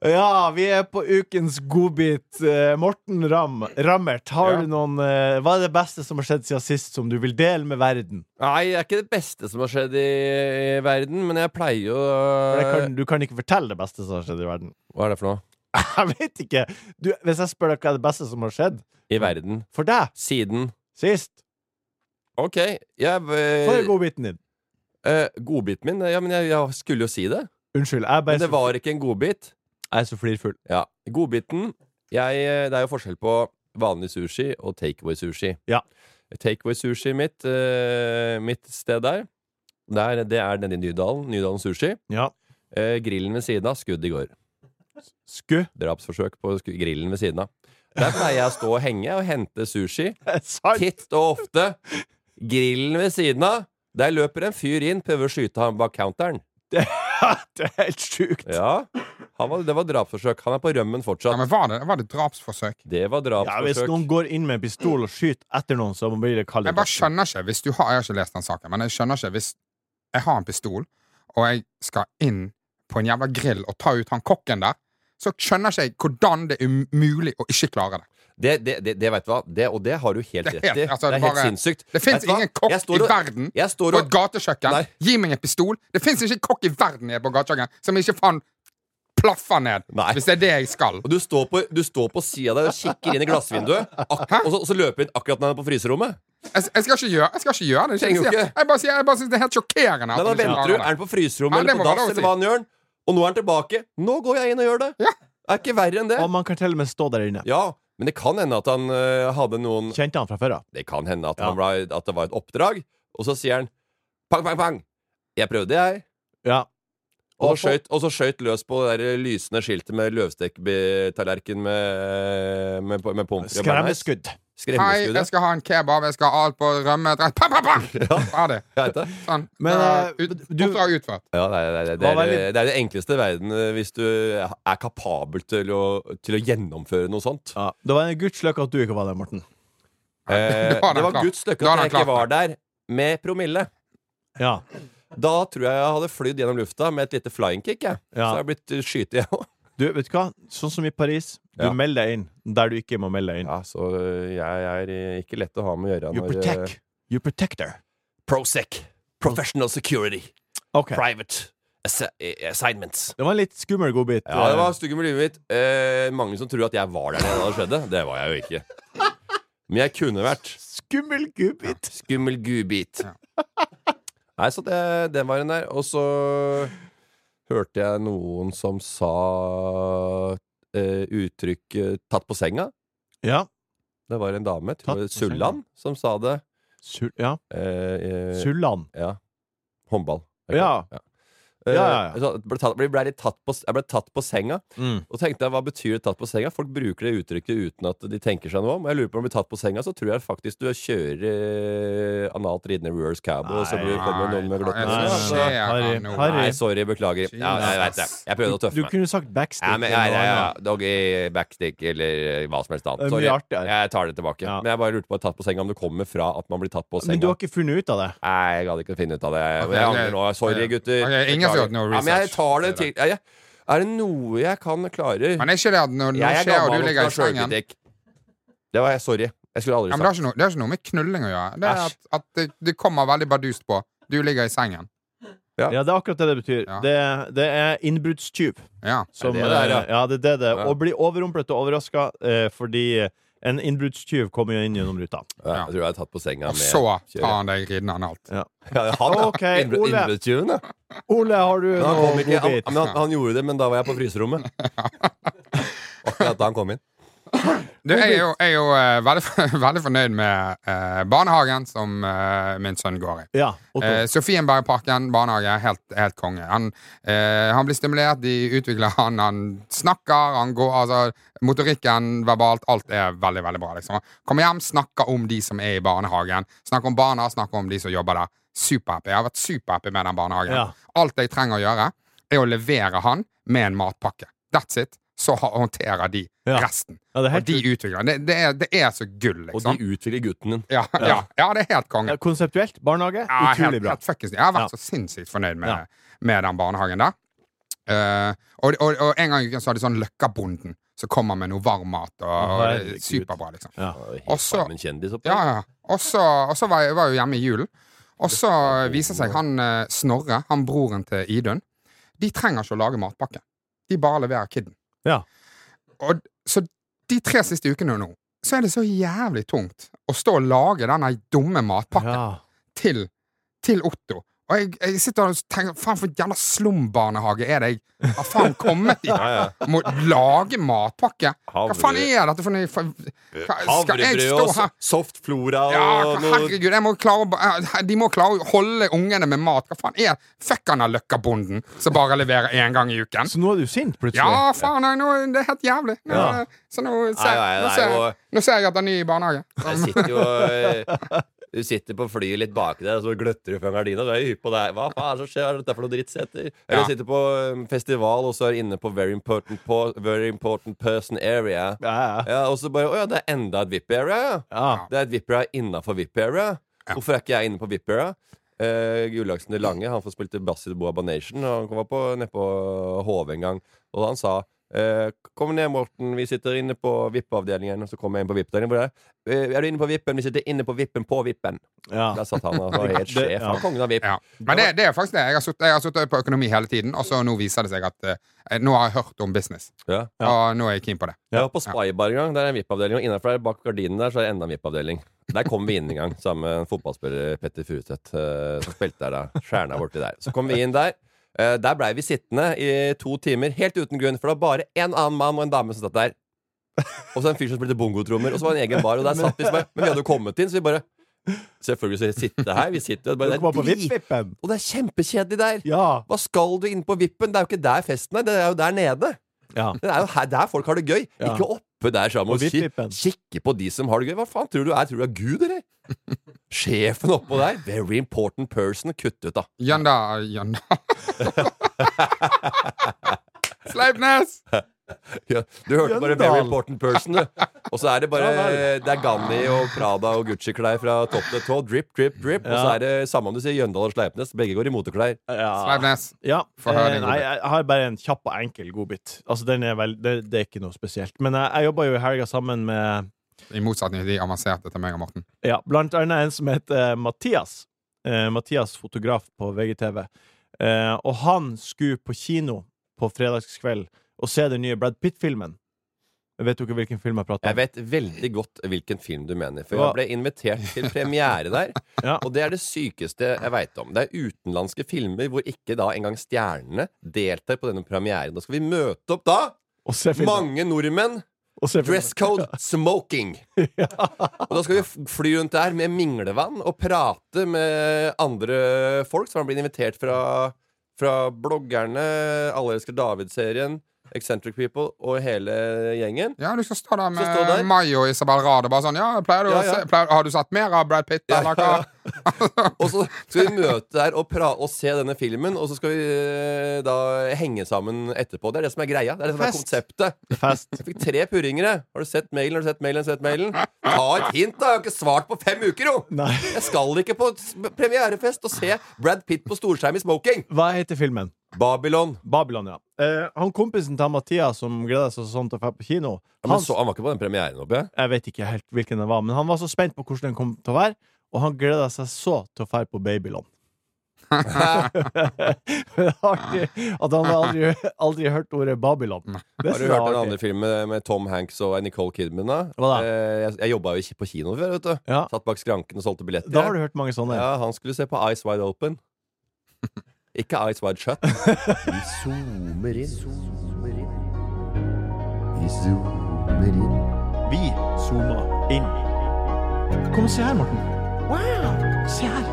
[SPEAKER 2] Ja, vi er på ukens godbit. Eh, Morten Ramm, Rammert, har
[SPEAKER 5] Ja.
[SPEAKER 2] du noen eh, Hva er det beste som har skjedd siden sist, som du vil dele med verden?
[SPEAKER 5] Nei, det er ikke det beste som har skjedd i, i verden, men jeg pleier jo eh,
[SPEAKER 2] For det kan, du kan ikke fortelle det beste som har skjedd i verden.
[SPEAKER 5] Hva er det for noe?
[SPEAKER 2] Jeg vet ikke! Du, hvis jeg spør deg hva er det beste som har skjedd
[SPEAKER 5] I verden.
[SPEAKER 2] for deg
[SPEAKER 5] Siden
[SPEAKER 2] sist,
[SPEAKER 5] OK, jeg
[SPEAKER 2] hva er
[SPEAKER 5] eh,
[SPEAKER 2] godbiten din?
[SPEAKER 5] eh, Godbiten min? Ja, men jeg, jeg skulle jo si det.
[SPEAKER 2] Unnskyld, jeg, bare
[SPEAKER 5] Men det var ikke en godbit.
[SPEAKER 2] jeg er så flirfull.
[SPEAKER 5] Ja. Godbiten jeg, Det er jo forskjell på vanlig sushi og takeaway-sushi.
[SPEAKER 2] Ja.
[SPEAKER 5] Takeaway-sushi mitt, eh, mitt sted der, der, det er nede i Nydalen. Nydalen Sushi.
[SPEAKER 2] Ja.
[SPEAKER 5] Eh, grillen ved siden av, skudd i går.
[SPEAKER 2] Sku.
[SPEAKER 5] Drapsforsøk på sk- grillen ved siden av. Der pleier jeg å stå og henge og hente sushi.
[SPEAKER 2] Sant.
[SPEAKER 5] Titt og ofte. Grillen ved siden av. Der løper en fyr inn, prøver å skyte ham bak counteren.
[SPEAKER 2] Det er helt sjukt.
[SPEAKER 5] Ja, han var, Det var drapsforsøk. Han er på rømmen
[SPEAKER 4] Ja,
[SPEAKER 5] fortsatt.
[SPEAKER 4] men var det, var det drapsforsøk?
[SPEAKER 5] Det var
[SPEAKER 2] Ja, hvis
[SPEAKER 5] drapsforsøk.
[SPEAKER 2] noen går inn med en pistol og skyter etter noen, så blir det kalt
[SPEAKER 4] Jeg bare skjønner ikke hvis du har, Jeg har ikke lest den saken, men jeg skjønner ikke hvis jeg har en pistol, og jeg skal inn på en jævla grill og ta ut han kokken der, så skjønner ikke jeg hvordan det er mulig å ikke klare det.
[SPEAKER 5] Det, det, det, det vet du hva, det, og det har du helt
[SPEAKER 4] Det er
[SPEAKER 5] rett i.
[SPEAKER 4] helt-
[SPEAKER 5] Det
[SPEAKER 4] altså,
[SPEAKER 5] er helt
[SPEAKER 4] bare-
[SPEAKER 5] sinnssykt.
[SPEAKER 4] Det fins
[SPEAKER 5] Vet du hva?
[SPEAKER 4] ingen kokk
[SPEAKER 5] Jeg står
[SPEAKER 4] i
[SPEAKER 5] og-
[SPEAKER 4] verden
[SPEAKER 5] Jeg står
[SPEAKER 4] på et
[SPEAKER 5] og
[SPEAKER 4] gatekjøkken.
[SPEAKER 5] Nei.
[SPEAKER 4] Gi meg en pistol. Det fins ikke en kokk i verden jeg er på gatekjøkken som ikke faen plaffer ned,
[SPEAKER 5] Nei.
[SPEAKER 4] hvis det er det jeg skal.
[SPEAKER 5] og du står på, du står på sida der og kikker inn i glassvinduet, ak
[SPEAKER 4] Hæ?
[SPEAKER 5] og, så, og så løper inn akkurat når han er på fryserommet.
[SPEAKER 4] Jeg, jeg, skal, ikke gjøre, jeg skal ikke gjøre det. Jeg,
[SPEAKER 5] Trenger jo
[SPEAKER 4] sier-
[SPEAKER 5] ikke.
[SPEAKER 4] jeg bare sier jeg bare syns det er helt sjokkerende.
[SPEAKER 5] Nei,
[SPEAKER 4] at
[SPEAKER 5] da
[SPEAKER 4] du ikke
[SPEAKER 5] venter
[SPEAKER 4] klarer
[SPEAKER 5] du.
[SPEAKER 4] det.
[SPEAKER 5] Er han på
[SPEAKER 4] Ja,
[SPEAKER 5] fryserommet
[SPEAKER 4] det
[SPEAKER 5] eller
[SPEAKER 4] må
[SPEAKER 5] på
[SPEAKER 4] være
[SPEAKER 5] dass,
[SPEAKER 4] lov å si.
[SPEAKER 5] eller hva han gjør? Og nå er han tilbake. Nå går jeg inn og gjør det.
[SPEAKER 4] Ja.
[SPEAKER 5] Det er ikke verre enn det.
[SPEAKER 2] Og man kan til og med stå der inne.
[SPEAKER 5] Ja, men det kan hende at han øh, hadde noen
[SPEAKER 2] Kjente han fra før av.
[SPEAKER 5] Det kan hende at,
[SPEAKER 2] Ja.
[SPEAKER 5] han ble, at det var et oppdrag, og så sier han pang, pang, pang. Jeg prøvde, jeg.
[SPEAKER 2] Ja.
[SPEAKER 5] Og så skjøt, og så skjøt løs på det der lysende skiltet med løvstektallerken med, med, med pommes frites. og bearnaise.
[SPEAKER 2] Skremmeskudd.
[SPEAKER 4] Hei,
[SPEAKER 5] Skremmeskuddet.
[SPEAKER 4] jeg skal ha en kebab, jeg skal ha alt på rømme dress. Pang, pang, pang! Ferdig.
[SPEAKER 5] Jeg vet det.
[SPEAKER 4] Sånn.
[SPEAKER 2] Men,
[SPEAKER 4] Eh,
[SPEAKER 2] eh,
[SPEAKER 4] ut,
[SPEAKER 2] du-
[SPEAKER 4] oppdrag utført.
[SPEAKER 5] Ja, det, er, det, er, det,
[SPEAKER 2] Hva var
[SPEAKER 5] er,
[SPEAKER 2] litt-
[SPEAKER 5] det er det enkleste i verden eh, hvis du er kapabel til å, til å gjennomføre noe sånt.
[SPEAKER 2] Ja. Det var en gudsløkke at du ikke var der, Morten.
[SPEAKER 5] Eh,
[SPEAKER 4] Da har
[SPEAKER 5] det
[SPEAKER 4] han
[SPEAKER 5] var
[SPEAKER 4] klart.
[SPEAKER 5] Guds lykke
[SPEAKER 4] Da har
[SPEAKER 5] at
[SPEAKER 4] han
[SPEAKER 5] jeg ikke
[SPEAKER 4] klart
[SPEAKER 5] var der med promille.
[SPEAKER 2] Ja.
[SPEAKER 5] Da tror jeg jeg hadde flydd gjennom lufta med et lite flying kick. Jeg. Så
[SPEAKER 2] Ja.
[SPEAKER 5] jeg har blitt eh, skytet, jeg òg.
[SPEAKER 2] Du, vet du hva? Sånn som i Paris. Du
[SPEAKER 5] Ja.
[SPEAKER 2] melder deg inn der du ikke må melde deg inn.
[SPEAKER 5] Ja, så eh, jeg er eh, ikke lett å ha med å gjøre
[SPEAKER 2] You
[SPEAKER 5] når eh,
[SPEAKER 2] protect. You protector.
[SPEAKER 5] Prosec. Professional security.
[SPEAKER 2] Ok.
[SPEAKER 5] Private assi- eh, assignments.
[SPEAKER 2] Det var en litt skummel godbit.
[SPEAKER 5] Ja, det var stygge med livet mitt. Eh, mange som tror at jeg var der da det skjedde. Det var jeg jo ikke. Men jeg kunne vært.
[SPEAKER 2] Skummel godbit.
[SPEAKER 5] Skummel gubit. Nei, så det, den var den der. Og så hørte jeg noen som sa eh, uttrykket 'tatt på senga'.
[SPEAKER 2] Ja.
[SPEAKER 5] Det var en dame, jeg tror
[SPEAKER 2] Tatt
[SPEAKER 5] det var
[SPEAKER 2] på senga.
[SPEAKER 5] Sulland, som sa det.
[SPEAKER 2] Sul ja.
[SPEAKER 5] Eh, eh,
[SPEAKER 2] Sulland.
[SPEAKER 5] ja. Håndball.
[SPEAKER 2] Ja.
[SPEAKER 5] Eh,
[SPEAKER 2] Ja, ja, ja.
[SPEAKER 5] så Ble tatt, ble, ble litt tatt på, jeg ble tatt på senga.
[SPEAKER 2] Mm.
[SPEAKER 5] Og tenkte jeg, hva betyr det tatt på senga? Folk bruker det uttrykket uten at de tenker seg noe om. Jeg lurer på om du blir tatt på senga, så tror jeg faktisk du kjører eh, analt ridende reverse cowboy, og så blir- kommer noen med glotten.
[SPEAKER 2] Nei,
[SPEAKER 5] Nei,
[SPEAKER 2] altså,
[SPEAKER 5] nei,
[SPEAKER 2] Harry,
[SPEAKER 4] Nei,
[SPEAKER 2] Harry.
[SPEAKER 5] nei, sorry, beklager. Ja, jeg vet det. Jeg prøvde å
[SPEAKER 2] Du
[SPEAKER 5] tøffe meg.
[SPEAKER 2] kunne sagt backstage.
[SPEAKER 5] Ja, men, ja, ja, ja. Doggy, backstick eller eh, hva som helst
[SPEAKER 2] Det er
[SPEAKER 5] annet.
[SPEAKER 2] mye
[SPEAKER 5] Sorry.
[SPEAKER 2] artigere.
[SPEAKER 5] Jeg tar det tilbake.
[SPEAKER 2] Ja.
[SPEAKER 5] Men jeg bare lurte på tatt på senga om det kommer fra at man blir tatt på senga.
[SPEAKER 2] Men du har ikke funnet ut av det?
[SPEAKER 5] Nei, jeg gadd ikke å finne ut av det. Jeg,
[SPEAKER 4] Ok,
[SPEAKER 5] jeg
[SPEAKER 4] ok.
[SPEAKER 5] angrer nå. Sorry,
[SPEAKER 4] Ok,
[SPEAKER 5] gutter.
[SPEAKER 4] ingen som har gjort noe
[SPEAKER 5] Ja, men jeg
[SPEAKER 4] research.
[SPEAKER 5] tar det
[SPEAKER 4] Det er
[SPEAKER 5] til jeg, jeg, Er det noe jeg kan klare?
[SPEAKER 4] Men det er ikke det at når noe
[SPEAKER 5] jeg er
[SPEAKER 4] skjer, og du
[SPEAKER 5] gammel nok til å
[SPEAKER 4] ligger
[SPEAKER 5] ha
[SPEAKER 4] i sengen
[SPEAKER 5] sjølkritikk. Det var jeg. Sorry. Jeg skulle
[SPEAKER 4] ja,
[SPEAKER 5] aldri
[SPEAKER 4] men det, har
[SPEAKER 5] sagt
[SPEAKER 4] ikke noe, det har ikke noe med knulling å gjøre. Det er
[SPEAKER 5] Æsj.
[SPEAKER 4] at, at det, det kommer veldig bardust på. Du ligger i sengen.
[SPEAKER 5] Ja.
[SPEAKER 2] Ja, det er akkurat det det betyr.
[SPEAKER 4] Ja.
[SPEAKER 2] Det, det er innbruddstyv.
[SPEAKER 4] Ja.
[SPEAKER 2] Som,
[SPEAKER 5] det det er, ja?
[SPEAKER 2] eh, ja, det er det det er.
[SPEAKER 5] Ja.
[SPEAKER 2] Å bli overrumplet og overraska eh, fordi en innbruddstyv kommer jo inn gjennom ruta.
[SPEAKER 5] ja, Jeg tror jeg er tatt på senga
[SPEAKER 4] Og
[SPEAKER 5] med
[SPEAKER 4] så
[SPEAKER 5] kjøret.
[SPEAKER 4] tar han deg ridende analt.
[SPEAKER 5] ja, Han, ja.
[SPEAKER 2] Ok,
[SPEAKER 5] Innbr-
[SPEAKER 2] Ole.
[SPEAKER 5] Innbruddstyven, ja.
[SPEAKER 2] Ole, har du
[SPEAKER 5] Men han kom
[SPEAKER 2] noe
[SPEAKER 5] ikke. Han,
[SPEAKER 2] godbit?
[SPEAKER 5] men han, han gjorde det, men da var jeg på fryserommet. Akkurat da han kom inn.
[SPEAKER 4] Du, jeg er jo, jeg er jo eh, veldig, for- veldig fornøyd med eh, barnehagen som eh, min sønn går i.
[SPEAKER 2] Ja, Otto.
[SPEAKER 4] Eh, Sofienbergparken barnehage, helt, helt konge. Han, eh, han blir stimulert, de utvikler han, han snakker, han går altså, Motorikken, verbalt, alt er veldig, veldig bra. Liksom. Kommer hjem, snakker om de som er i barnehagen. Snakker om barna, snakker om de som jobber der. Superhappy. Jeg har vært superhappy med den barnehagen.
[SPEAKER 2] Ja.
[SPEAKER 4] Alt jeg trenger å gjøre, er å levere han med en matpakke. That's it. Så ha- håndterer de
[SPEAKER 2] Ja.
[SPEAKER 4] resten.
[SPEAKER 2] Ja, det er
[SPEAKER 4] Og
[SPEAKER 2] helt
[SPEAKER 4] de utvikler det, det, er, det er så gull,
[SPEAKER 5] Og
[SPEAKER 4] liksom.
[SPEAKER 5] de utvikler gutten din.
[SPEAKER 4] Ja, ja. ja, det er helt konge.
[SPEAKER 2] Ja, Konseptuelt, barnehage,
[SPEAKER 4] Ja,
[SPEAKER 2] utrolig
[SPEAKER 4] helt,
[SPEAKER 2] bra.
[SPEAKER 4] Helt fuckings, jeg har vært
[SPEAKER 2] Ja.
[SPEAKER 4] så sinnssykt fornøyd med,
[SPEAKER 2] Ja.
[SPEAKER 4] med den barnehagen der. Eh, og, og, og en gang i uken så hadde de sånn Løkkabonden som kommer med noe varm mat. Og, og det er
[SPEAKER 2] Herregud.
[SPEAKER 4] superbra, liksom.
[SPEAKER 2] Ja.
[SPEAKER 4] Og så-
[SPEAKER 5] Farmen kjendis opp
[SPEAKER 4] Ja, ja. Og så, og så var jeg var jeg jo hjemme i julen. Og så viser seg han eh, Snorre, han broren til Idun, de trenger ikke å lage matpakke. De bare leverer kidden.
[SPEAKER 2] Ja.
[SPEAKER 4] Og, så de tre siste ukene nå, så er det så jævlig tungt å stå og lage denne dumme matpakken
[SPEAKER 2] Ja.
[SPEAKER 4] til, til Otto. Og jeg, jeg sitter og tenker Faen, for en jævla slumbarnehage er det jeg har faen kommet i? Må lage matpakke? Hva faen er dette for noe for- hva- Skal jeg
[SPEAKER 5] Havrebrød
[SPEAKER 4] stå
[SPEAKER 5] og
[SPEAKER 4] her?
[SPEAKER 5] s- soft flora
[SPEAKER 4] Ja,
[SPEAKER 5] og noe
[SPEAKER 4] herregud, jeg må klare, å ba- eh, de må klare å holde ungene med mat. Hva faen er Fuck han der løkkabonden som bare leverer én gang i uken?
[SPEAKER 2] Så nå er du sint, plutselig?
[SPEAKER 4] Ja, faen, nei, nå, det er helt jævlig. Nå,
[SPEAKER 2] Ja.
[SPEAKER 4] Så nå ser,
[SPEAKER 5] Nei, nei,
[SPEAKER 4] nå,
[SPEAKER 5] nei,
[SPEAKER 4] ser,
[SPEAKER 5] og-
[SPEAKER 4] nå ser jeg at han er ny i barnehage.
[SPEAKER 5] Jeg sitter jo eh, Du sitter på flyet litt baki der, og så gløtter du fra gardina. Så er jeg hypp på deg. Hva faen er det som skjer? Hva er dette for noe dritt jeg heter? Eller
[SPEAKER 4] Ja.
[SPEAKER 5] sitter på eh, festival, og så er inne på very important, po very important person area.
[SPEAKER 2] Ja, ja.
[SPEAKER 5] Ja, og så bare Å ja, det er enda et VIP area, ja.
[SPEAKER 2] Ja.
[SPEAKER 5] Det er et VIP-area innafor VIP-area. Hvorfor er ikke jeg inne på VIP-area? Eh, Gullaksen det Lange han får spilt i bass i Boaba Nation. og Han kom opp på, ned på HV en gang, og han sa eh, Kom ned, Morten, vi sitter inne på VIP-avdelingen. Og så kom jeg inn på VIP-avdelingen. hvor det Er eh, Er du inne på VIP-en? Vi sitter inne på VIP-en på VIP-en.
[SPEAKER 2] Ja.
[SPEAKER 5] Der satt han og var helt
[SPEAKER 2] Det-
[SPEAKER 5] sjef.
[SPEAKER 2] ja.
[SPEAKER 5] Han var kongen av VIP.
[SPEAKER 4] Ja. Men det, det er faktisk det. Jeg har suttet- jeg har sittet på økonomi hele tiden, og så nå viser det seg at eh, Nå har jeg hørt om business,
[SPEAKER 5] Ja.
[SPEAKER 4] og nå er jeg keen på det.
[SPEAKER 5] Jeg var på Spybar en gang. Der er en VIP-avdeling. Og innenfor der, bak gardinen der så er det enda en VIP-avdeling. Der kom vi inn en gang sammen med en fotballspiller Petter Furuseth, eh, som spilte der da. Stjerna borti der. Så kom vi inn der. Eh, der blei vi sittende i to timer, helt uten grunn, for det var bare en annen mann og en dame som satt der. Og så en fyr som spilte bongotrommer, og så var det en egen bar. Og der satt vi som bare, Men vi hadde jo kommet inn, så vi bare Selvfølgelig skal vi sitte her. Vi sitter jo
[SPEAKER 2] Du
[SPEAKER 5] bare,
[SPEAKER 2] kommer
[SPEAKER 5] det
[SPEAKER 2] på
[SPEAKER 5] er drit,
[SPEAKER 2] VIP-vippen.
[SPEAKER 5] Og det er kjempekjedelig der.
[SPEAKER 2] Ja.
[SPEAKER 5] Hva skal du inn på vippen? Det er jo ikke der festen er, det er jo der nede.
[SPEAKER 2] ja.
[SPEAKER 5] Det er jo her, der folk har det gøy.
[SPEAKER 2] Ja.
[SPEAKER 5] Ikke oppe der sammen
[SPEAKER 2] Og
[SPEAKER 5] og ki-
[SPEAKER 2] vipp-vippen.
[SPEAKER 5] kikke på de som har det gøy. Hva faen tror du er? Tror du er Gud, eller? Sjefen oppå der. Very important person. Kutt ut, da.
[SPEAKER 4] Janda Janda Sleipnes!
[SPEAKER 5] Ja, Du hørte bare
[SPEAKER 2] Jøndal.
[SPEAKER 5] very important person, du. Og så er det bare Det er Gandhi og Prada og Gucci-klær fra topp til tå. Drip, drip, drip. Og så
[SPEAKER 2] Ja.
[SPEAKER 5] er det samme om du sier Jøndal og Sleipnes. Begge går i moteklær.
[SPEAKER 2] ja.
[SPEAKER 4] Sleipnes.
[SPEAKER 2] Ja,
[SPEAKER 4] Få høre
[SPEAKER 2] eh,
[SPEAKER 4] din
[SPEAKER 2] nei,
[SPEAKER 4] godbit.
[SPEAKER 2] jeg har bare en kjapp og enkel godbit. Altså, den er vel, det, det er ikke noe spesielt. Men jeg, jeg jobba jo i helga sammen med
[SPEAKER 4] I motsetning til de avanserte til meg og Morten.
[SPEAKER 2] ja, blant annet en som heter Mathias. Eh, Mathias, fotograf på VGTV. Eh, og han skulle på kino på fredagskveld og se den nye Brad Pitt-filmen. Vet du ikke hvilken film jeg prater
[SPEAKER 5] Jeg
[SPEAKER 2] om?
[SPEAKER 5] vet veldig godt hvilken film du mener. For
[SPEAKER 2] Hva?
[SPEAKER 5] jeg ble invitert til premiere der.
[SPEAKER 2] Ja.
[SPEAKER 5] Og det er det sykeste jeg veit om. Det er utenlandske filmer hvor ikke da engang stjernene deltar på denne premieren. Da skal vi møte opp da!
[SPEAKER 2] Og se filmen.
[SPEAKER 5] Mange nordmenn.
[SPEAKER 2] Og se filmen.
[SPEAKER 5] Dress code smoking. Og da skal vi f- fly rundt der med minglevann og prate med andre folk som har blitt invitert fra Fra bloggerne, Alle elsker David-serien, Eccentric People og hele gjengen.
[SPEAKER 4] Ja, du skal stå der med
[SPEAKER 5] stå der.
[SPEAKER 4] Mai og Isabel Rad og bare sånn Ja, pleier du
[SPEAKER 5] Ja,
[SPEAKER 4] å
[SPEAKER 5] ja.
[SPEAKER 4] se pleier, Har du sett mer av Brad Pitt,
[SPEAKER 5] Ja,
[SPEAKER 4] eller
[SPEAKER 5] ja,
[SPEAKER 4] hva?
[SPEAKER 5] ja. Og så skal vi møte der og, pra og se denne filmen, og så skal vi eh, da henge sammen etterpå. Det er det som er greia. Det er det som er
[SPEAKER 2] Fest.
[SPEAKER 5] konseptet.
[SPEAKER 2] Fest.
[SPEAKER 5] Jeg fikk tre purringere. Har du sett mailen? Har du sett mailen? Har du sett mailen? Ta et hint, da! Jeg har ikke svart på fem uker, jo!
[SPEAKER 2] Nei.
[SPEAKER 5] Jeg skal ikke på s- premierefest og se Brad Pitt på storskjerm i smoking!
[SPEAKER 2] Hva heter filmen?
[SPEAKER 5] Babylon.
[SPEAKER 2] Babylon, ja. Eh, han kompisen til Mathias som gleder seg sånn til å dra på kino,
[SPEAKER 5] Ja, men
[SPEAKER 2] han,
[SPEAKER 5] så, han var ikke på den premieren, håper jeg.
[SPEAKER 2] jeg vet ikke helt hvilken den var, men han var så spent på hvordan den kom til å være, og han gleda seg så til å dra på Babylon. det er artig at han aldri, aldri hørt ordet Babylon. Det
[SPEAKER 5] Har
[SPEAKER 2] synes
[SPEAKER 5] du
[SPEAKER 2] jeg er
[SPEAKER 5] hørt den
[SPEAKER 2] artig.
[SPEAKER 5] andre filmen med Tom Hanks og Nicole Kidman? da?
[SPEAKER 2] Hva da?
[SPEAKER 5] Eh, Jeg, jeg jobba jo på kino før, vet du.
[SPEAKER 2] Ja.
[SPEAKER 5] Satt bak skranken og solgte billetter.
[SPEAKER 2] Da har du hørt mange sånne.
[SPEAKER 5] Ja, han skulle se på Eyes Wide Open. Ikke Eyes Wide Shut.
[SPEAKER 3] Vi zoomer inn. Zoomer inn. Vi zoomer inn.
[SPEAKER 2] Vi zooma inn. Kom og se her, Morten. Wow! Se her.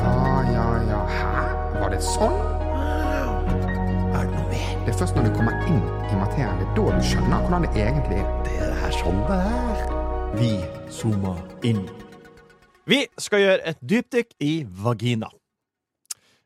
[SPEAKER 4] Ja, ja, ja. Hæ? Var det sånn?
[SPEAKER 3] Er det noe mer?
[SPEAKER 4] Det er først når du kommer inn i materien, det er da du skjønner hvordan det egentlig er.
[SPEAKER 3] Det er det her sånn det er.
[SPEAKER 2] Vi zooma inn. Vi skal gjøre et dypdykk i vagina.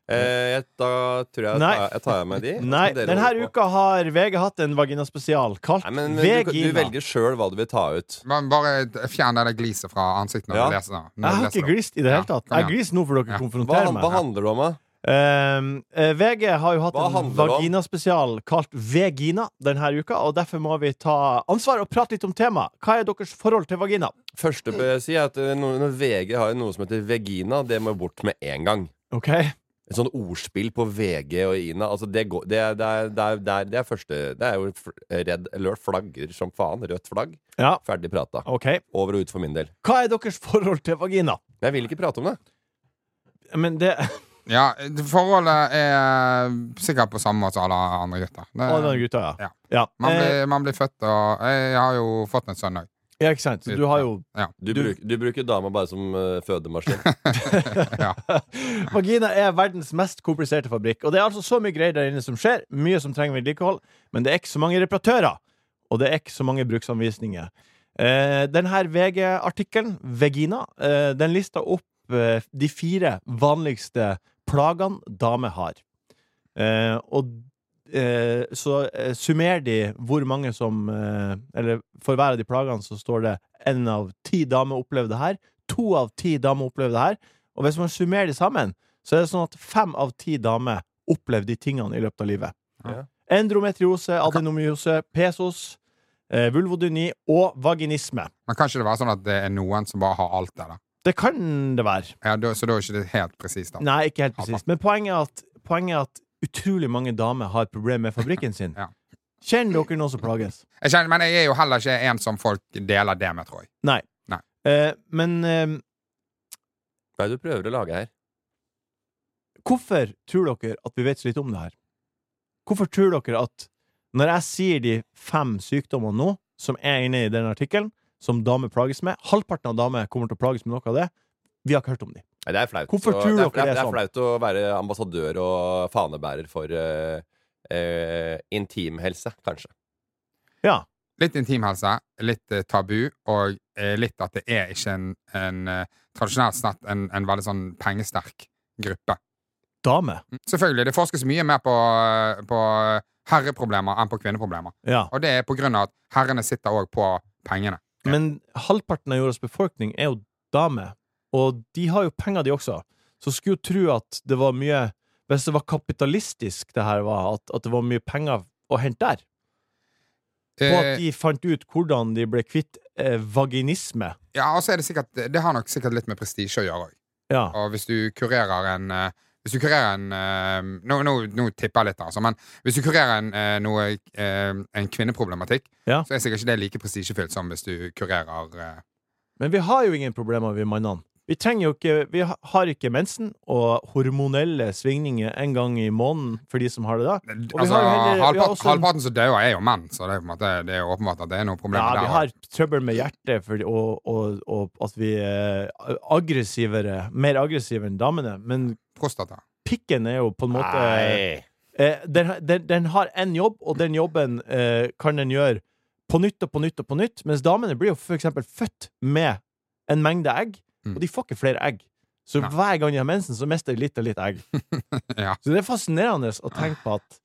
[SPEAKER 5] Eh, jeg- da tror jeg
[SPEAKER 2] Nei.
[SPEAKER 5] tar, jeg tar av meg de. og så
[SPEAKER 2] Nei,
[SPEAKER 5] kan dere
[SPEAKER 2] denne
[SPEAKER 5] holde på.
[SPEAKER 2] uka har VG hatt en vaginaspesial kalt
[SPEAKER 5] Nei, men, men du, du
[SPEAKER 2] Vegina.
[SPEAKER 5] velger sjøl hva du vil ta ut.
[SPEAKER 4] Bare, bare fjern det der gliset fra ansiktet når
[SPEAKER 5] Ja.
[SPEAKER 4] du leser. Når
[SPEAKER 2] Jeg
[SPEAKER 4] du
[SPEAKER 2] har
[SPEAKER 4] leser
[SPEAKER 2] ikke
[SPEAKER 4] det.
[SPEAKER 2] glist i det hele
[SPEAKER 4] Ja,
[SPEAKER 2] tatt.
[SPEAKER 4] kom
[SPEAKER 2] Jeg
[SPEAKER 4] igjen.
[SPEAKER 2] gliser nå for dere
[SPEAKER 4] Ja.
[SPEAKER 2] konfronterer
[SPEAKER 5] Hva, hva
[SPEAKER 2] meg.
[SPEAKER 5] handler det om, da?
[SPEAKER 2] Um, eh, VG har jo hatt
[SPEAKER 5] Hva
[SPEAKER 2] en
[SPEAKER 5] handler det om?
[SPEAKER 2] vaginaspesial kalt Vegina denne uka, og derfor må vi ta ansvar og prate litt om temaet. Hva er deres forhold til vagina?
[SPEAKER 5] Første bør jeg si er at eh, no- når VG har jo noe som heter Vegina, det må bort med en gang.
[SPEAKER 2] Ok,
[SPEAKER 5] Et sånn ordspill på VG og Ina. Altså det, går, det, er- det, er- det, er- det, er- det er første Det er jo fl- redd alert flagger som faen. Rødt flagg.
[SPEAKER 2] ja,
[SPEAKER 5] Ferdig prata.
[SPEAKER 2] ok
[SPEAKER 5] Over og ut for min del.
[SPEAKER 2] Hva er deres forhold til vagina?
[SPEAKER 5] Men jeg vil ikke prate om det.
[SPEAKER 2] Men det
[SPEAKER 4] Ja, forholdet er sikkert på samme måte som alle andre gutter. Det-
[SPEAKER 2] Å, den gutta, ja.
[SPEAKER 4] Ja.
[SPEAKER 2] Ja.
[SPEAKER 4] man,
[SPEAKER 2] Eh,
[SPEAKER 4] blir, man blir født og Jeg har jo fått en sønn òg.
[SPEAKER 2] ja, ikke sant. Så du har jo
[SPEAKER 4] Ja.
[SPEAKER 5] Du,
[SPEAKER 2] Du-
[SPEAKER 5] bruk, du bruker dama bare som eh, fødemaskin.
[SPEAKER 2] Vagina er verdens mest kompliserte fabrikk, og det er altså så mye greier der inne som skjer. Mye som trenger vedlikehold, men det er ikke så mange reparatører. Og det er ikke så mange bruksanvisninger. Eh, denne VG-artikkelen, Vegina, eh, den lister opp eh, de fire vanligste plagene damer har. Eh, og eh, så eh, summerer de hvor mange som eh, Eller for hver av de plagene så står det én av ti damer opplever det her, to av ti damer opplever det her. Og hvis man summerer de sammen, så er det sånn at fem av ti damer opplever de tingene i løpet av livet.
[SPEAKER 5] Ja.
[SPEAKER 2] Endrometriose, adenomyose, pesos, eh, vulvodyni og vaginisme.
[SPEAKER 4] Men kan ikke det være sånn at det er noen som bare har alt det der?
[SPEAKER 2] Det kan det være.
[SPEAKER 4] Ja, da, så da er ikke det helt presist. da.
[SPEAKER 2] Nei, ikke helt presist. Men poenget er at, poenget er at utrolig mange damer har problemer med fabrikken sin.
[SPEAKER 4] Ja.
[SPEAKER 2] Kjenner dere noen som plages?
[SPEAKER 4] Jeg kjenner, men jeg er jo heller ikke en som folk deler det med, tror jeg.
[SPEAKER 2] Nei.
[SPEAKER 4] Nei.
[SPEAKER 2] Eh, men eh,
[SPEAKER 5] Hva er det du prøver å lage her?
[SPEAKER 2] hvorfor tror dere at vi vet så lite om det her? Hvorfor tror dere at når jeg sier de fem sykdommene nå, som er inne i den artikkelen, som damer plages med Halvparten av damer kommer til å plages med noe av det. Vi har ikke hørt om de.
[SPEAKER 5] Nei, det er flaut.
[SPEAKER 2] Hvorfor
[SPEAKER 5] å-
[SPEAKER 2] tror
[SPEAKER 5] det, er,
[SPEAKER 2] dere det er
[SPEAKER 5] det er
[SPEAKER 2] sånn?
[SPEAKER 5] flaut å være ambassadør og fanebærer for eh, eh, intimhelse, kanskje.
[SPEAKER 2] Ja.
[SPEAKER 4] Litt intimhelse, litt eh, tabu, og eh, litt at det er ikke en, en eh, tradisjonelt sett en, en veldig sånn pengesterk gruppe.
[SPEAKER 2] Dame.
[SPEAKER 4] Mm. Selvfølgelig, det forskes mye mer på, eh, på herreproblemer enn på kvinneproblemer.
[SPEAKER 2] Ja.
[SPEAKER 4] Og det er på grunn av at herrene sitter òg på pengene.
[SPEAKER 2] Men halvparten av jordas befolkning er jo damer, og de har jo penger, de også. Så skulle jo tro at det var mye Hvis det var kapitalistisk, det her var, at, at det var mye penger å hente der. På at
[SPEAKER 4] Eh,
[SPEAKER 2] de fant ut hvordan de ble kvitt eh, vaginisme.
[SPEAKER 4] ja, og så er det sikkert Det har nok sikkert litt med prestisje å gjøre òg.
[SPEAKER 2] Ja.
[SPEAKER 4] Og hvis du kurerer en eh, Hvis du kurerer en eh, Nå, nå, nå tipper jeg litt, altså, men hvis du kurerer en, eh, noe, eh, en kvinneproblematikk,
[SPEAKER 2] Ja.
[SPEAKER 4] så er sikkert ikke det like prestisjefylt som hvis du kurerer eh,
[SPEAKER 2] Men vi har jo ingen problemer, vi mannene. Vi trenger jo ikke Vi ha- har ikke mensen og hormonelle svingninger en gang i måneden for de som har det da. Og vi
[SPEAKER 4] altså,
[SPEAKER 2] har jo heller- vi har
[SPEAKER 4] halvparten,
[SPEAKER 2] også en-
[SPEAKER 4] halvparten som dør, er jo menn, så det er, på en måte, det er jo åpenbart at det er noe problem
[SPEAKER 2] Ja, vi
[SPEAKER 4] der.
[SPEAKER 2] har trøbbel med hjertet fordi, og, og, og at vi er aggressivere, mer aggressive enn damene. Men
[SPEAKER 4] Prostata.
[SPEAKER 2] pikken er jo på en måte
[SPEAKER 6] Nei.
[SPEAKER 2] eh, den, den, den har én jobb, og den jobben eh, kan den gjøre på nytt og på nytt og på nytt. Mens damene blir jo for eksempel født med en mengde egg,
[SPEAKER 4] Mm.
[SPEAKER 2] og de får ikke flere egg. Så
[SPEAKER 4] Nei.
[SPEAKER 2] hver gang de har mensen, så mister de litt og litt egg.
[SPEAKER 4] Ja.
[SPEAKER 2] Så det er fascinerende å tenke på at,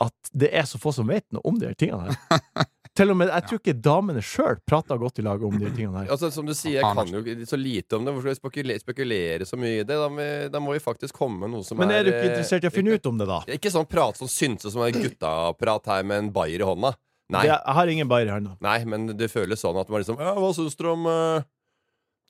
[SPEAKER 2] at det er så få som vet noe om de her tingene her. Til og med, Jeg tror ikke damene sjøl prater godt i lag om de her tingene her.
[SPEAKER 5] Altså, som du sier, jeg kan jo ikke så lite om det. Hvorfor skal vi spekulere, spekulere så mye i det? Da, må- da må vi faktisk komme med noe som
[SPEAKER 2] Men
[SPEAKER 5] er eh,
[SPEAKER 2] er du ikke interessert i å finne ut om det, da?
[SPEAKER 5] Ikke sånn prat som synse som en guttaprat her med en bayer i hånda. Nei,
[SPEAKER 2] Jeg jeg har ingen bayer i hånda.
[SPEAKER 5] nei, men det føles sånn at man liksom «Ja, Hva syns dere om eh,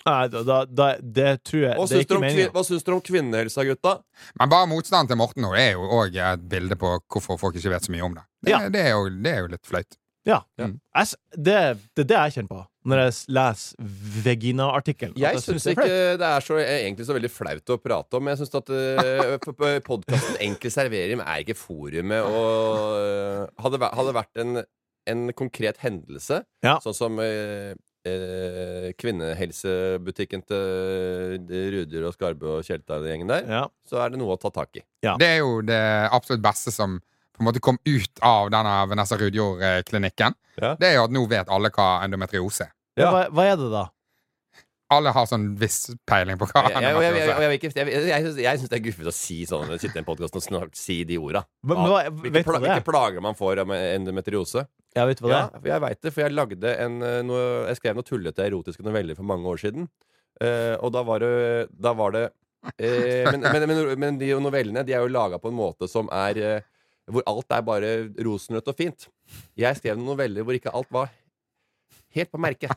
[SPEAKER 2] Nei, da, da, da, det tror jeg Det
[SPEAKER 5] Hva
[SPEAKER 2] er
[SPEAKER 5] syns dere
[SPEAKER 2] ikke
[SPEAKER 5] om, kvi-
[SPEAKER 2] meninga.
[SPEAKER 5] hva syns dere om kvinnehelsa, gutta?
[SPEAKER 4] Men bare motstanden til Morten nå er jo òg et bilde på hvorfor folk ikke vet så mye om det. Det,
[SPEAKER 2] Ja.
[SPEAKER 4] det, er, jo, det er jo litt flaut.
[SPEAKER 2] Ja. Mm.
[SPEAKER 4] Ja.
[SPEAKER 2] Jeg s- Det det er det jeg kjenner på når jeg s- leser Vegina-artikkelen. at
[SPEAKER 5] Jeg syns
[SPEAKER 2] det er
[SPEAKER 5] ikke
[SPEAKER 2] flaut.
[SPEAKER 5] det er så, er egentlig så veldig flaut å prate om. Jeg syns at uh, podkasten Enkel servering er ikke forumet og eh, hadde, væ- hadde vært en, en konkret hendelse,
[SPEAKER 2] Ja.
[SPEAKER 5] sånn som eh, eh, kvinnehelsebutikken til eh, Ruder og Skarbe og Tjelta-gjengen der,
[SPEAKER 2] Ja.
[SPEAKER 5] så er det noe å ta tak i.
[SPEAKER 2] Ja.
[SPEAKER 4] Det er jo det absolutt beste som på en måte kom ut av denne Vanessa Rudjord-klinikken.
[SPEAKER 5] Ja.
[SPEAKER 4] Det er jo at nå vet alle hva endometriose er.
[SPEAKER 2] Men Hva, hva er det, da?
[SPEAKER 4] Alle har sånn viss peiling på hva
[SPEAKER 5] Jeg, jeg, jeg, jeg,
[SPEAKER 4] endometriose er.
[SPEAKER 5] jeg, vil ikke- jeg, jeg, jeg, syns- jeg syns det er guffent å si sånn når man sitter i en podkast og snak, si de orda.
[SPEAKER 2] Men- men
[SPEAKER 5] Ja,
[SPEAKER 2] hva-
[SPEAKER 5] Hvilke,
[SPEAKER 2] vet du
[SPEAKER 5] pla,
[SPEAKER 2] det?
[SPEAKER 5] hvilke plager man får av endometriose.
[SPEAKER 2] Jeg vet hva det
[SPEAKER 5] Ja,
[SPEAKER 2] er.
[SPEAKER 5] for jeg veit det, for jeg lagde en eh, noe, Jeg skrev noen tullete erotiske noveller for mange år siden. Eh, og da var det, da var det eh, men, men, men, men de novellene De er jo laga på en måte som er eh, Hvor alt er bare rosenrødt og fint. Jeg skrev noen noveller hvor ikke alt var helt på Eh, merket.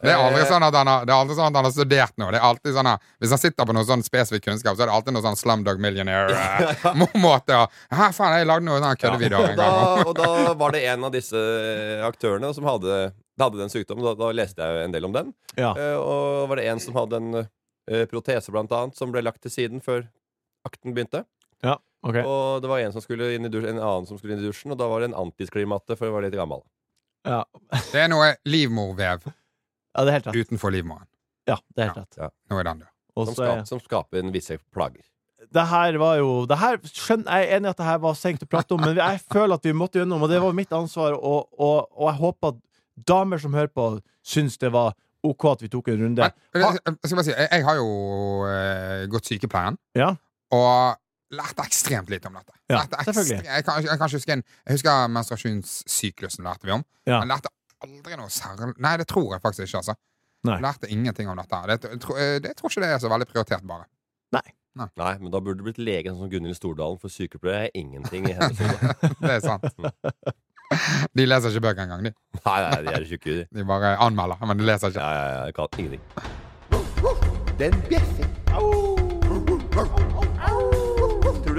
[SPEAKER 4] Det er aldri sånn at han har, det er aldri sånn at han har studert noe. Det er alltid sånn at, Hvis han sitter på noe sånn spesifikk kunnskap, så er det alltid noe sånn Slumdog eh, Millionaire-måte. Hæ, faen, jeg lagde noen sånne køddevideoer
[SPEAKER 5] Og
[SPEAKER 4] en
[SPEAKER 5] da,
[SPEAKER 4] gang.
[SPEAKER 5] og da var det en av disse aktørene som hadde, hadde den sykdommen. Da, da leste jeg en del om den.
[SPEAKER 2] Ja.
[SPEAKER 5] Eh, og da var det en som hadde en eh, protese, blant annet, som ble lagt til siden før akten begynte.
[SPEAKER 2] Ja, ok.
[SPEAKER 5] Og det var en, som skulle inn i dusjen, en annen som skulle inn i dusjen, og da var det en antisklimatte, for jeg var litt gammel.
[SPEAKER 2] Ja.
[SPEAKER 4] Det er noe livmorvev
[SPEAKER 2] ja, det er helt rett.
[SPEAKER 4] utenfor livmoren.
[SPEAKER 2] Ja, det er helt rett.
[SPEAKER 5] Ja,
[SPEAKER 4] Nå er den død.
[SPEAKER 2] Og
[SPEAKER 5] som,
[SPEAKER 2] så er-
[SPEAKER 5] skap, som skaper en visse plager.
[SPEAKER 2] det her var jo det her, skjønner, Jeg er enig i at det her var seint å prate om, men jeg føler at vi måtte gjennom, og det var mitt ansvar. Og, og, og jeg håper at damer som hører på, syns det var OK at vi tok en runde.
[SPEAKER 4] Men, jeg, jeg skal bare si, jeg, jeg har jo eh, gått sykepleien
[SPEAKER 2] Ja,
[SPEAKER 4] og lært ekstremt lite om dette.
[SPEAKER 2] Ja,
[SPEAKER 4] Lærte
[SPEAKER 2] selvfølgelig.
[SPEAKER 4] Jeg, kan, jeg kan ikke huske en Jeg husker menstruasjonssyklusen lærte vi om.
[SPEAKER 2] Ja.
[SPEAKER 4] Jeg lærte aldri noe særlig Nei, det tror jeg faktisk ikke, altså.
[SPEAKER 2] Nei.
[SPEAKER 4] Jeg lærte ingenting om dette. Det, jeg tror- eh, det, jeg tror ikke det er så veldig prioritert, bare.
[SPEAKER 5] Nei, men da burde du blitt lege, sånn som Gunhild Stordalen, for sykepleier er ingenting i hennes hode.
[SPEAKER 4] Det er sant. De leser ikke bøker engang, de.
[SPEAKER 5] Nei, nei, de er tjukke. de.
[SPEAKER 4] De bare anmelder, men de leser ikke.
[SPEAKER 5] Ja, ja, ja, jeg kan ingenting.
[SPEAKER 3] Den bjeffer. Tror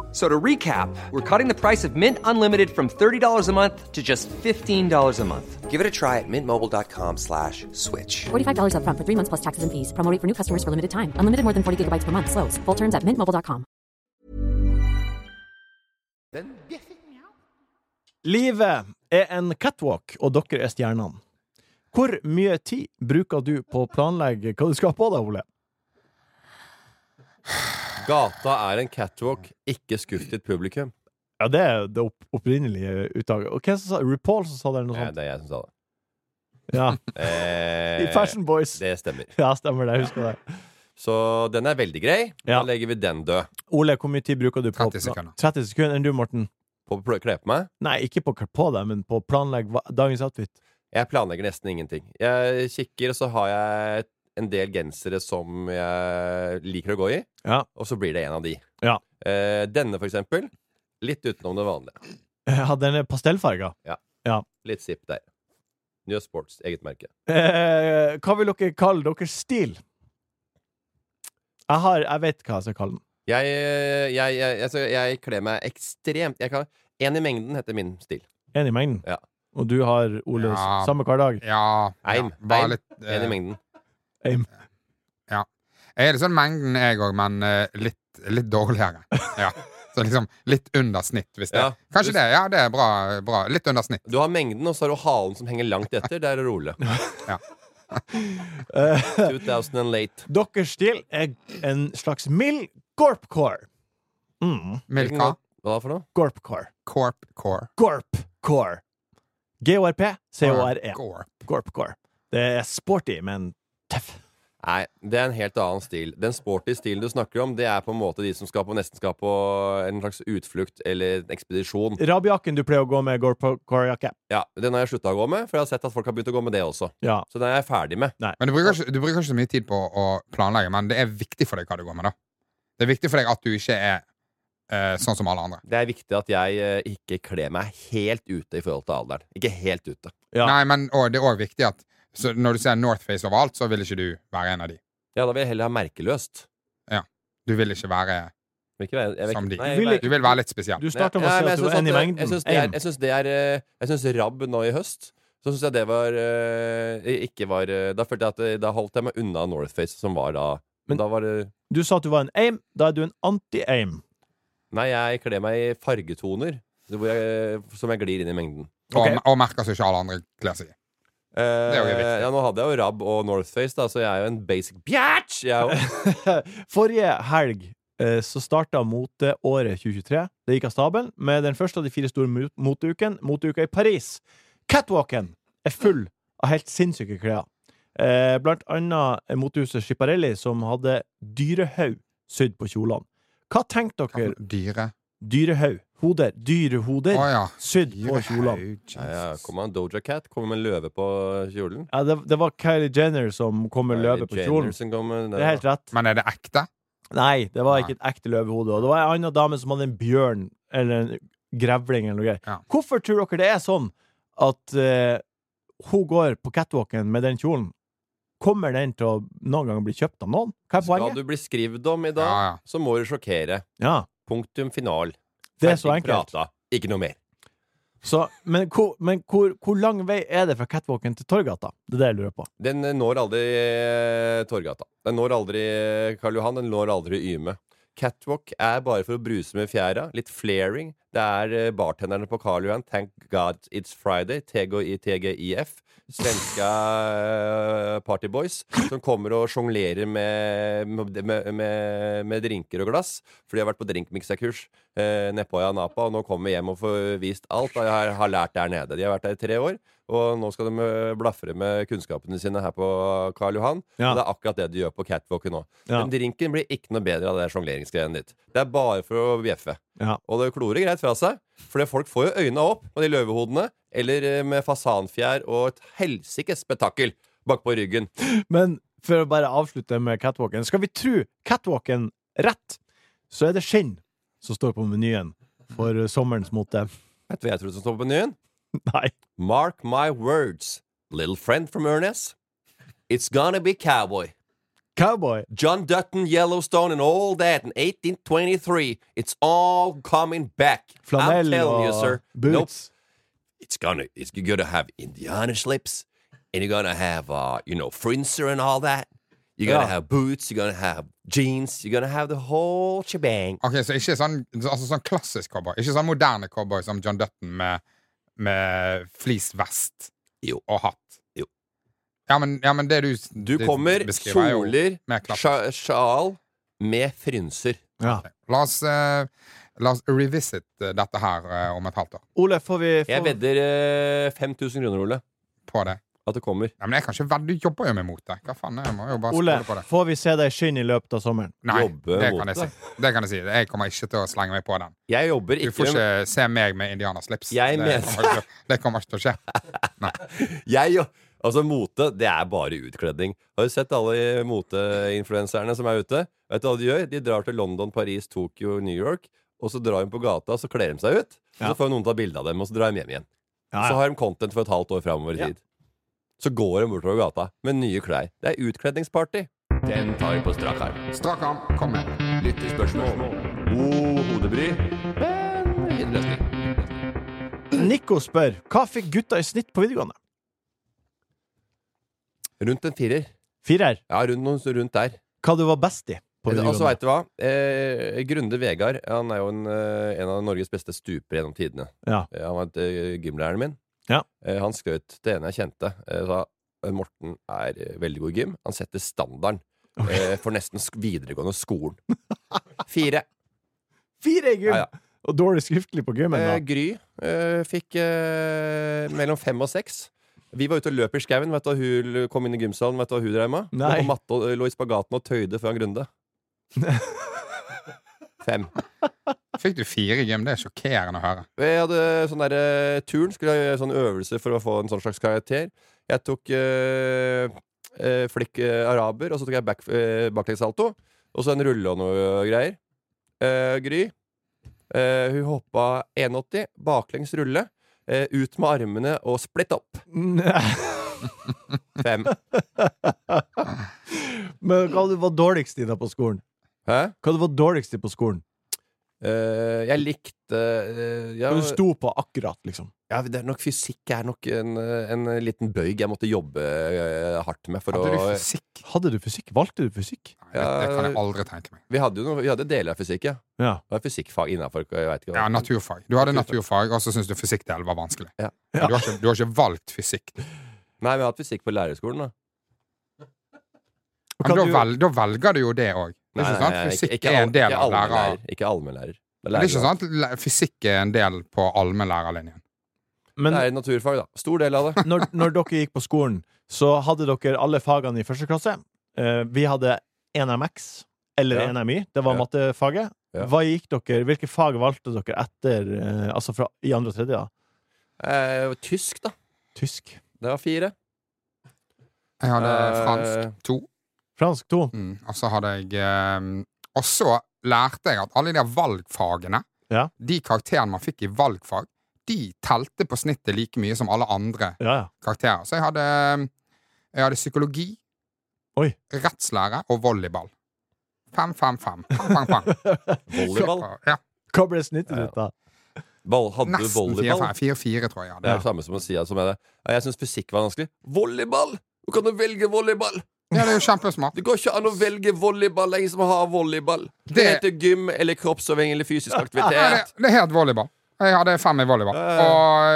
[SPEAKER 7] So to recap, we're cutting the price of Mint Unlimited from $30 a month to just $15 a month.
[SPEAKER 3] Give it a try at mintmobile.com slash switch.
[SPEAKER 8] $45 upfront for three months plus taxes and fees. Promo rate for new customers for limited time. Unlimited more than 40 gigabytes per month. Slows. Full terms at mintmobile.com.
[SPEAKER 3] Den bjeffer.
[SPEAKER 2] Livet er en catwalk, og dere er stjernene. Hvor mye tid bruker du på å planlegge hva du skal ha på deg, Ole?
[SPEAKER 5] Gata er en catwalk, ikke skuff ditt publikum.
[SPEAKER 2] Ja, Det er det opp opprinnelige uttaket. Og hvem som sa RuPaul som sa det, eller noe
[SPEAKER 5] Nei,
[SPEAKER 2] sånt?
[SPEAKER 5] det er jeg som sa det.
[SPEAKER 2] Ja,
[SPEAKER 5] Eh,
[SPEAKER 2] I Fashion Boys.
[SPEAKER 5] Det stemmer.
[SPEAKER 2] Ja, stemmer det. Jeg husker det.
[SPEAKER 5] Så den er veldig grei.
[SPEAKER 2] Ja.
[SPEAKER 5] Da legger vi den død.
[SPEAKER 2] Ole, hvor mye tid bruker du på
[SPEAKER 4] 30 sekunder.
[SPEAKER 2] 30 sekunder enn du, Morten?
[SPEAKER 5] På å pl- kle på meg.
[SPEAKER 2] Nei, ikke på å kle på deg, men på å planlegge hva- dagens outfit.
[SPEAKER 5] Jeg planlegger nesten ingenting. Jeg kikker, og så har jeg en del gensere som jeg liker å gå i,
[SPEAKER 2] Ja.
[SPEAKER 5] og så blir det en av de.
[SPEAKER 2] Ja.
[SPEAKER 5] Eh, denne, for eksempel. Litt utenom det vanlige.
[SPEAKER 2] Ja, den er Eh, pastellfarga.
[SPEAKER 5] Litt zipp der. Njø Sports, eget merke.
[SPEAKER 2] Eh, hva vil dere kalle deres stil? Jeg, har, jeg vet hva jeg skal kalle den.
[SPEAKER 5] Jeg, jeg, jeg, altså, jeg kler meg ekstremt jeg kan, En i mengden heter min stil.
[SPEAKER 2] En i mengden.
[SPEAKER 5] Ja.
[SPEAKER 2] Og du har, Ole,
[SPEAKER 4] Ja.
[SPEAKER 2] samme hver dag.
[SPEAKER 4] Ja, ja
[SPEAKER 5] Eim,
[SPEAKER 4] bare
[SPEAKER 5] eim.
[SPEAKER 4] litt
[SPEAKER 5] En
[SPEAKER 4] eh,
[SPEAKER 5] i mengden.
[SPEAKER 4] Jeg er litt sånn mengden, jeg òg, men eh, litt, litt dårligere. Ja. Så liksom litt under snitt, hvis det
[SPEAKER 5] Ja.
[SPEAKER 4] Kanskje det. Ja, det er bra. bra. Litt under snitt.
[SPEAKER 5] Du har mengden, og så har du halen som henger langt etter. Der er Ole. 2000 and late.
[SPEAKER 2] Deres stil er en slags mild gorpcore. Mm.
[SPEAKER 4] Milka.
[SPEAKER 5] Hva for noe?
[SPEAKER 2] Gorpcore.
[SPEAKER 4] Corp core.
[SPEAKER 2] Gorpcore. G-O-R-P, C-O-R-E.
[SPEAKER 4] Corp.
[SPEAKER 2] Gorpcore. E. Det er sporty, men tøff.
[SPEAKER 5] Nei, det er en helt annen stil. Den sporty stilen du snakker om, det er på en måte de som skal på nesten skal på en slags utflukt eller en ekspedisjon.
[SPEAKER 2] Rabjakken du pleier å gå med, gorpcore-jakke.
[SPEAKER 5] Ja, Den har jeg slutta å gå med, for jeg har sett at folk har begynt å gå med det også.
[SPEAKER 2] Ja.
[SPEAKER 5] Så den er jeg ferdig med.
[SPEAKER 4] Men du bruker, ikke, du bruker ikke så mye tid på å planlegge, men det er viktig for deg hva du går med, da. Det er viktig for deg at du ikke er eh, sånn som alle andre.
[SPEAKER 5] Det er viktig at jeg eh, ikke kler meg helt ute i forhold til alderen. Ikke helt ute.
[SPEAKER 2] Ja.
[SPEAKER 4] Nei, men og det er òg viktig at så når du ser Northface overalt, så vil ikke du være en av de.
[SPEAKER 5] Ja, da vil jeg heller ha merkeløst.
[SPEAKER 4] Du vil ikke være
[SPEAKER 5] Vil ikke være- jeg vil
[SPEAKER 4] Som
[SPEAKER 5] ikke-
[SPEAKER 4] de.
[SPEAKER 5] nei, jeg
[SPEAKER 2] Vil
[SPEAKER 5] vil-
[SPEAKER 2] ikke-
[SPEAKER 4] Du vil være litt spesiell.
[SPEAKER 2] Du starta med å si
[SPEAKER 5] Nei, men jeg
[SPEAKER 2] at du
[SPEAKER 5] synes
[SPEAKER 2] var en i
[SPEAKER 5] det-
[SPEAKER 2] mengden.
[SPEAKER 5] Jeg syns det, er-
[SPEAKER 2] En.
[SPEAKER 5] jeg synes det er eh, Jeg synes Rabb nå i høst Så syns jeg det var eh, Ikke var eh, Da følte jeg at eh, Da holdt jeg meg unna Northface, som var da
[SPEAKER 2] Men-
[SPEAKER 5] Da var det
[SPEAKER 2] Du sa at du var en aim, da er du en anti-aim.
[SPEAKER 5] Nei, jeg kler meg i fargetoner hvor jeg, som jeg glir inn i mengden.
[SPEAKER 2] Ok.
[SPEAKER 4] Og, og merker seg ikke alle andre klær seg i.
[SPEAKER 5] Eh,
[SPEAKER 4] jo viktig.
[SPEAKER 5] ja, nå hadde jeg jo Rabb og Northface, da, så jeg er jo en basic bjætsj! Jeg er jo
[SPEAKER 2] Forrige helg eh, så starta moteåret 2023. Det gikk av stabelen med den første av de fire store mot- moteuken, moteuka i Paris. Catwalken er full av helt sinnssyke klær. Eh, blant annet eh, motehuset Schiparelli, som hadde dyrehaug sydd på kjolene. Hva tenkte dere?
[SPEAKER 4] Dyre.
[SPEAKER 2] Dyrehaug. Hoder. Dyrehoder
[SPEAKER 4] Å ja.
[SPEAKER 2] sydd på
[SPEAKER 4] Dyre
[SPEAKER 2] kjolene.
[SPEAKER 5] ja, ja, Kommer en Doja Cat, kommer med en løve på kjolen.
[SPEAKER 2] Ja, det, det var Kylie Jenner som kom med løve på
[SPEAKER 5] Jenner
[SPEAKER 2] kjolen.
[SPEAKER 5] som kommer-
[SPEAKER 2] Det er helt rett.
[SPEAKER 4] Men er det ekte?
[SPEAKER 2] Nei, det var
[SPEAKER 4] Nei.
[SPEAKER 2] ikke et ekte løvehode. Og det var ei anna dame som hadde en bjørn eller en grevling eller noe greier.
[SPEAKER 4] Ja.
[SPEAKER 2] Hvorfor tror dere det er sånn at eh, hun går på catwalken med den kjolen? Kommer den til å noen gang bli kjøpt av noen? Hva er
[SPEAKER 5] Skal
[SPEAKER 2] poenget?
[SPEAKER 5] du bli skrevet om i dag,
[SPEAKER 4] Ja, ja.
[SPEAKER 5] så må du sjokkere.
[SPEAKER 2] Ja,
[SPEAKER 5] Punktum final.
[SPEAKER 2] det er så
[SPEAKER 5] Ferdig
[SPEAKER 2] enkelt.
[SPEAKER 5] Prata. Ikke noe mer.
[SPEAKER 2] Så, men hvor, men hvor, hvor lang vei er det fra catwalken til Torgata? Det er det jeg lurer på.
[SPEAKER 5] Den eh, når aldri eh, Torgata. Den når aldri eh, Karl Johan. Den når aldri Yme. Catwalk er bare for å bruse med fjæra. Litt flaring. Det er eh, bartenderne på Karl Johan. Thank God it's Friday. TGITGIF. Svenska eh, partyboys som kommer og sjonglerer med, med, med, med drinker og glass. For de har vært på drinkmikserkurs eh, nedpå i Anapa, og nå kommer vi hjem og får vist alt hva jeg har- har lært der nede. De har vært der i tre år. Og nå skal de eh, blafre med kunnskapene sine her på Karl Johan.
[SPEAKER 2] Ja.
[SPEAKER 5] Og det er akkurat det de gjør på catwalken nå.
[SPEAKER 2] Ja.
[SPEAKER 5] Men drinken blir ikke noe bedre av det sjongleringsgreiene ditt. Det er bare for å bjeffe.
[SPEAKER 2] Ja.
[SPEAKER 5] Og det klorer greit fra seg, for det folk får jo øynene opp med de løvehodene, eller eh, med fasanfjær og et helsikes spetakkel bakpå ryggen.
[SPEAKER 2] Men for å bare avslutte med catwalken Skal vi tro catwalken rett, så er det skinn som står på menyen for eh, sommerens mote.
[SPEAKER 5] Vet du hva jeg tror som står på menyen?
[SPEAKER 2] Nei.
[SPEAKER 5] Mark my words, little friend from Ernest. It's gonna be cowboy.
[SPEAKER 2] Cowboy.
[SPEAKER 5] John Dutton, Yellowstone and all that in 1823. It's all coming back. I'm
[SPEAKER 2] Flanell
[SPEAKER 5] telling
[SPEAKER 2] og
[SPEAKER 5] you, sir. Nope.
[SPEAKER 2] boots.
[SPEAKER 5] It's gonna, it's, you're gonna have Indiana slips, and you're gonna have, uh, you know, frinzer and all that. You're gonna
[SPEAKER 2] Ja.
[SPEAKER 5] have boots. You're gonna have jeans. You're gonna have the whole shebang.
[SPEAKER 4] Ok, Så ikke sånn, altså sånn klassisk cowboy. Ikke sånn moderne cowboy som John Dutton med, med fleecevest
[SPEAKER 5] Jo.
[SPEAKER 4] og hatt.
[SPEAKER 5] Jo.
[SPEAKER 4] Ja, men, ja, men det du
[SPEAKER 5] Du
[SPEAKER 4] det
[SPEAKER 5] kommer,
[SPEAKER 4] beskriver er jo
[SPEAKER 5] kjoler,
[SPEAKER 4] mer klassisk.
[SPEAKER 5] sja- sjal med frynser.
[SPEAKER 2] Ja.
[SPEAKER 4] La oss, eh, la oss revisit eh, dette her eh, om et halvt år.
[SPEAKER 2] Ole, får vi får...
[SPEAKER 5] Jeg vedder eh, 5000 kroner, Ole.
[SPEAKER 4] På det.
[SPEAKER 5] at det kommer.
[SPEAKER 4] Ja, men jeg kan ikke være, Du jobber jo med mote. Hva faen, jeg må jo bare
[SPEAKER 2] Ole,
[SPEAKER 4] skåle på det.
[SPEAKER 2] får vi se deg i skinn i løpet av sommeren?
[SPEAKER 4] Nei,
[SPEAKER 5] Jobbe
[SPEAKER 4] det
[SPEAKER 5] mot
[SPEAKER 4] kan, jeg si. det kan jeg si. Jeg kommer ikke til å slenge meg på den.
[SPEAKER 5] Jeg jobber
[SPEAKER 4] Du
[SPEAKER 5] ikke,
[SPEAKER 4] får ikke se meg med indianerslips.
[SPEAKER 5] Jeg
[SPEAKER 4] det,
[SPEAKER 5] mener-
[SPEAKER 4] kommer ikke, til- det kommer ikke til å skje. Nei.
[SPEAKER 5] jeg, jo- Altså, mote, det er bare utkledning. Har du sett alle moteinfluenserne som er ute? Vet du hva de gjør? De drar til London, Paris, Tokyo, New York, og så drar de på gata, og så kler de seg ut. Og
[SPEAKER 2] Ja.
[SPEAKER 5] så får noen ta bilde av dem, og så drar de hjem igjen.
[SPEAKER 2] Ja,
[SPEAKER 5] Så
[SPEAKER 2] ja.
[SPEAKER 5] har de content for et halvt år framover i
[SPEAKER 2] Ja.
[SPEAKER 5] tid. Så går de bortover gata med nye klær. Det er utkledningsparty. Den tar vi på strak arm.
[SPEAKER 4] Strak arm, kom med.
[SPEAKER 5] Lyttespørsmål. God hodebry, men fin løsning.
[SPEAKER 2] Nico spør hva fikk gutta i snitt på videregående.
[SPEAKER 5] Rundt en firer.
[SPEAKER 2] Firer.
[SPEAKER 5] Ja, rundt, noen- rundt der.
[SPEAKER 2] Hva du var best i på
[SPEAKER 5] Og så
[SPEAKER 2] videregående.
[SPEAKER 5] veit altså, du hva? Eh, Grunde Vegard han er jo en, eh, en av Norges beste stupere gjennom tidene.
[SPEAKER 2] Ja.
[SPEAKER 5] Eh, Han var eh, gymlæreren min.
[SPEAKER 2] Ja.
[SPEAKER 5] Eh, han skrøt til en jeg kjente. Eh, sa Morten er eh, veldig god i gym. Han setter standarden eh, for nesten sk videregående skolen. Fire.
[SPEAKER 2] Fire i gym!
[SPEAKER 5] Ja, ja.
[SPEAKER 2] Og dårlig skriftlig på gymmen. da.
[SPEAKER 5] Eh, Gry eh, fikk eh, mellom fem og seks. Vi var ute og løp i skauen. Vet du hva hun l- kom inn i gymsalen? Vet du hva hun drev med? Lå,
[SPEAKER 2] Nei.
[SPEAKER 5] på matte og, lå i spagaten og tøyde foran Grunde. Fem.
[SPEAKER 4] Fikk du fire i gym? Det er sjokkerende å høre.
[SPEAKER 5] Jeg hadde sånn der eh, turn, skulle jeg gjøre sånn øvelse for å få en sånn slags karakter. Jeg tok eh, eh, flikk eh, araber, og så tok jeg back, eh, baklengssalto. Og så en rulle og noe greier. Eh, Gry, eh, hun hoppa 1,80, baklengs rulle. eh, ut med armene og splitt opp. Fem.
[SPEAKER 2] Men hva du var dårligst i da på skolen?
[SPEAKER 5] Hæ?
[SPEAKER 2] Hva du var dårligst i på skolen?
[SPEAKER 5] Eh, jeg likte eh, ja,
[SPEAKER 2] Hva du sto på akkurat, liksom?
[SPEAKER 5] ja, det er nok Fysikk er nok en, eh, en liten bøyg jeg måtte jobbe eh, hardt med for
[SPEAKER 4] Hadde du
[SPEAKER 5] å
[SPEAKER 4] fysikk?
[SPEAKER 2] Hadde du fysikk? Valgte du fysikk?
[SPEAKER 4] Nei, det, det kan jeg
[SPEAKER 5] Ja.
[SPEAKER 4] aldri tenke meg.
[SPEAKER 5] Vi hadde jo noe, vi hadde deler av fysikk, ja.
[SPEAKER 2] Ja.
[SPEAKER 5] Det var fysikkfag innafor.
[SPEAKER 4] Ja, naturfag. Du hadde naturfag, og så syntes du fysikkdelen var vanskelig.
[SPEAKER 5] Ja.
[SPEAKER 4] Men Du, har ikke, du har ikke valgt fysikk.
[SPEAKER 5] Nei, vi har hatt fysikk på lærerskolen, da.
[SPEAKER 4] Men da,
[SPEAKER 2] du-
[SPEAKER 4] vel, da velger du jo det òg. Det er ikke sant? Fysikk er en del av lærer...
[SPEAKER 5] lærer. Ikke allmennlærer.
[SPEAKER 4] Det er ikke sant? Le- Fysikk er en del på allmennlærerlinjen.
[SPEAKER 5] Det
[SPEAKER 2] Men
[SPEAKER 5] er naturfag, da. Stor del av det.
[SPEAKER 2] når, når dere gikk på skolen, så hadde dere alle fagene i første klasse. Eh, vi hadde NMX, eller
[SPEAKER 5] Ja.
[SPEAKER 2] NMI. Det var
[SPEAKER 5] Ja.
[SPEAKER 2] mattefaget.
[SPEAKER 5] Ja.
[SPEAKER 2] Hva gikk dere, hvilke fag valgte dere etter eh, Altså fra, i andre og tredje? da?
[SPEAKER 5] Eh, tysk, da.
[SPEAKER 2] Tysk.
[SPEAKER 5] Det var fire.
[SPEAKER 4] Jeg hadde
[SPEAKER 5] Eh,
[SPEAKER 4] fransk to,
[SPEAKER 2] Fransk 2.
[SPEAKER 4] mm, og så hadde jeg eh, Og så lærte jeg at alle de der valgfagene,
[SPEAKER 2] Ja.
[SPEAKER 4] de karakterene man fikk i valgfag, de telte på snittet like mye som alle andre
[SPEAKER 2] Ja, ja.
[SPEAKER 4] karakterer. Så jeg hadde, jeg hadde psykologi,
[SPEAKER 2] Oi.
[SPEAKER 4] rettslære og volleyball. Fem, fem, fem. Pang, pang, pang.
[SPEAKER 5] Volleyball.
[SPEAKER 4] Ja,
[SPEAKER 2] Hva ble snittet
[SPEAKER 5] Ja.
[SPEAKER 2] ditt, da?
[SPEAKER 5] Ball, hadde du
[SPEAKER 4] nesten
[SPEAKER 5] volleyball?
[SPEAKER 4] fire, fire, fire, tror jeg. jeg
[SPEAKER 5] Det er
[SPEAKER 4] hadde.
[SPEAKER 5] det samme som å si at som er det. Ja, Jeg syns fysikk var vanskelig. Volleyball! Du kan jo velge volleyball!
[SPEAKER 4] Ja, det er jo kjempesmart.
[SPEAKER 5] Det går ikke an å velge volleyball, det er ingen som har volleyball. Det
[SPEAKER 4] Det-
[SPEAKER 5] heter gym eller kroppsøving eller fysisk
[SPEAKER 4] Ja,
[SPEAKER 5] aktivitet.
[SPEAKER 4] det, det er helt volleyball. Jeg hadde fem i volleyball.
[SPEAKER 5] Ja, ja,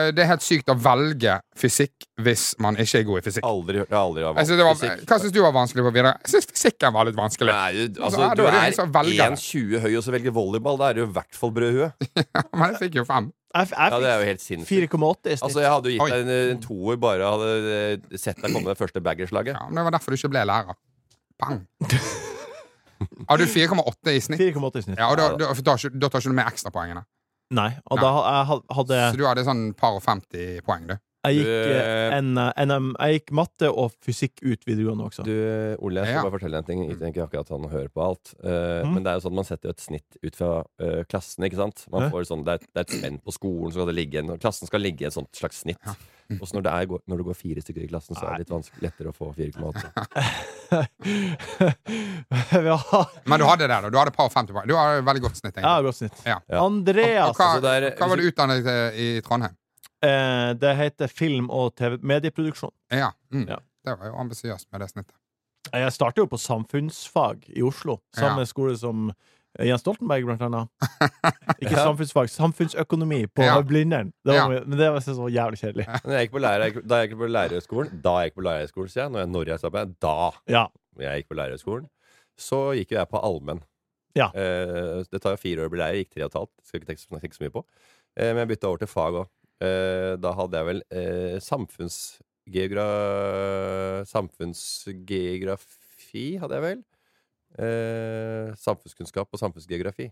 [SPEAKER 4] Og det er helt sykt å velge fysikk hvis man ikke er god i fysikk.
[SPEAKER 5] Aldri hørt aldri har
[SPEAKER 4] Jeg synes Altså, det var, hva syns du var vanskelig på videre? Jeg syns fysikken var litt vanskelig.
[SPEAKER 5] Nei, du-
[SPEAKER 4] Så er
[SPEAKER 5] altså,
[SPEAKER 4] det liksom
[SPEAKER 5] du
[SPEAKER 4] jo
[SPEAKER 5] er
[SPEAKER 4] ingen som velger.
[SPEAKER 5] 1,20 høy og så velger volleyball. Da er du i hvert fall brødhue.
[SPEAKER 4] Men jeg fikk jo fem.
[SPEAKER 2] Jeg, f- jeg
[SPEAKER 5] Ja, det er jo
[SPEAKER 2] fikk
[SPEAKER 5] helt sinnssykt.
[SPEAKER 2] 4,8 i snitt.
[SPEAKER 5] Altså, jeg hadde jo
[SPEAKER 4] Oi.
[SPEAKER 5] gitt deg en, en toer bare jeg hadde eh, sett deg komme med det første baggerslaget.
[SPEAKER 4] Ja, men det var derfor du ikke ble lærer. Pang. Har du 4,8 i snitt?
[SPEAKER 2] 4,8 i snitt.
[SPEAKER 4] Ja, og da, da, for da, tar ikke- da tar ikke du med ekstrapoengene.
[SPEAKER 2] Nei. Og
[SPEAKER 4] Nei.
[SPEAKER 2] da ha- jeg ha- hadde
[SPEAKER 4] Så du hadde sånn par og 50 poeng, du.
[SPEAKER 2] Jeg
[SPEAKER 5] Du,
[SPEAKER 2] gikk, eh,
[SPEAKER 5] eh,
[SPEAKER 2] N- NM, jeg gikk matte og fysikk ut videregående også.
[SPEAKER 5] Du, Ole, jeg skal
[SPEAKER 4] Ja. Mhm.
[SPEAKER 5] bare fortelle en ting. Jeg tenker akkurat han hører på alt. Eh, Men det er jo sånn at man setter jo et snitt ut fra eh, klassen, ikke sant? Man
[SPEAKER 2] Ja.
[SPEAKER 5] får sånn, det, er, det er et spenn på skolen, så skal det ligge en, klassen skal ligge i et sånt slags snitt. Og så når det, er, når det går fire stykker i klassen, så er det litt vanskelig, lettere å få 4,8.
[SPEAKER 2] Vi har
[SPEAKER 4] Men du hadde det, da. Du hadde par og 50 poeng. Du hadde veldig godt snitt.
[SPEAKER 2] Ja,
[SPEAKER 4] egentlig.
[SPEAKER 2] godt snitt.
[SPEAKER 4] Ja.
[SPEAKER 2] Andreas,
[SPEAKER 4] Og hva,
[SPEAKER 5] altså, det er-
[SPEAKER 4] hva var du utdannet eh, i Trondheim?
[SPEAKER 2] eh, det heter film- og TV medieproduksjon.
[SPEAKER 4] Ja. Mm.
[SPEAKER 2] Ja.
[SPEAKER 4] Det var jo ambisiøst med det snittet.
[SPEAKER 2] Jeg startet jo på samfunnsfag i Oslo, samme
[SPEAKER 4] Ja.
[SPEAKER 2] skole som Jens Stoltenberg, blant annet. Ikke samfunnsfag, samfunnsøkonomi på
[SPEAKER 4] Ja.
[SPEAKER 2] Blindern. Det var,
[SPEAKER 4] Ja.
[SPEAKER 2] Men det var jeg synes var jævlig kjedelig.
[SPEAKER 5] Men jeg gikk på lærer, da jeg gikk på lærerhøgskolen, da jeg gikk på lærerhøgskolen, sier jeg, når jeg, når jeg sa på det, da
[SPEAKER 2] Ja.
[SPEAKER 5] jeg gikk på lærerhøgskolen, så gikk jo jeg på allmenn.
[SPEAKER 2] Ja.
[SPEAKER 5] Eh, det tar jo fire år å bli lærer, gikk tre og et halvt. Skal ikke tenke, så- tenke så mye på. Eh, men jeg bytta over til fag òg. Eh, da hadde jeg vel eh, samfunns... geogra samfunnsgeografi, hadde jeg vel. Eh, samfunnskunnskap og samfunnsgeografi.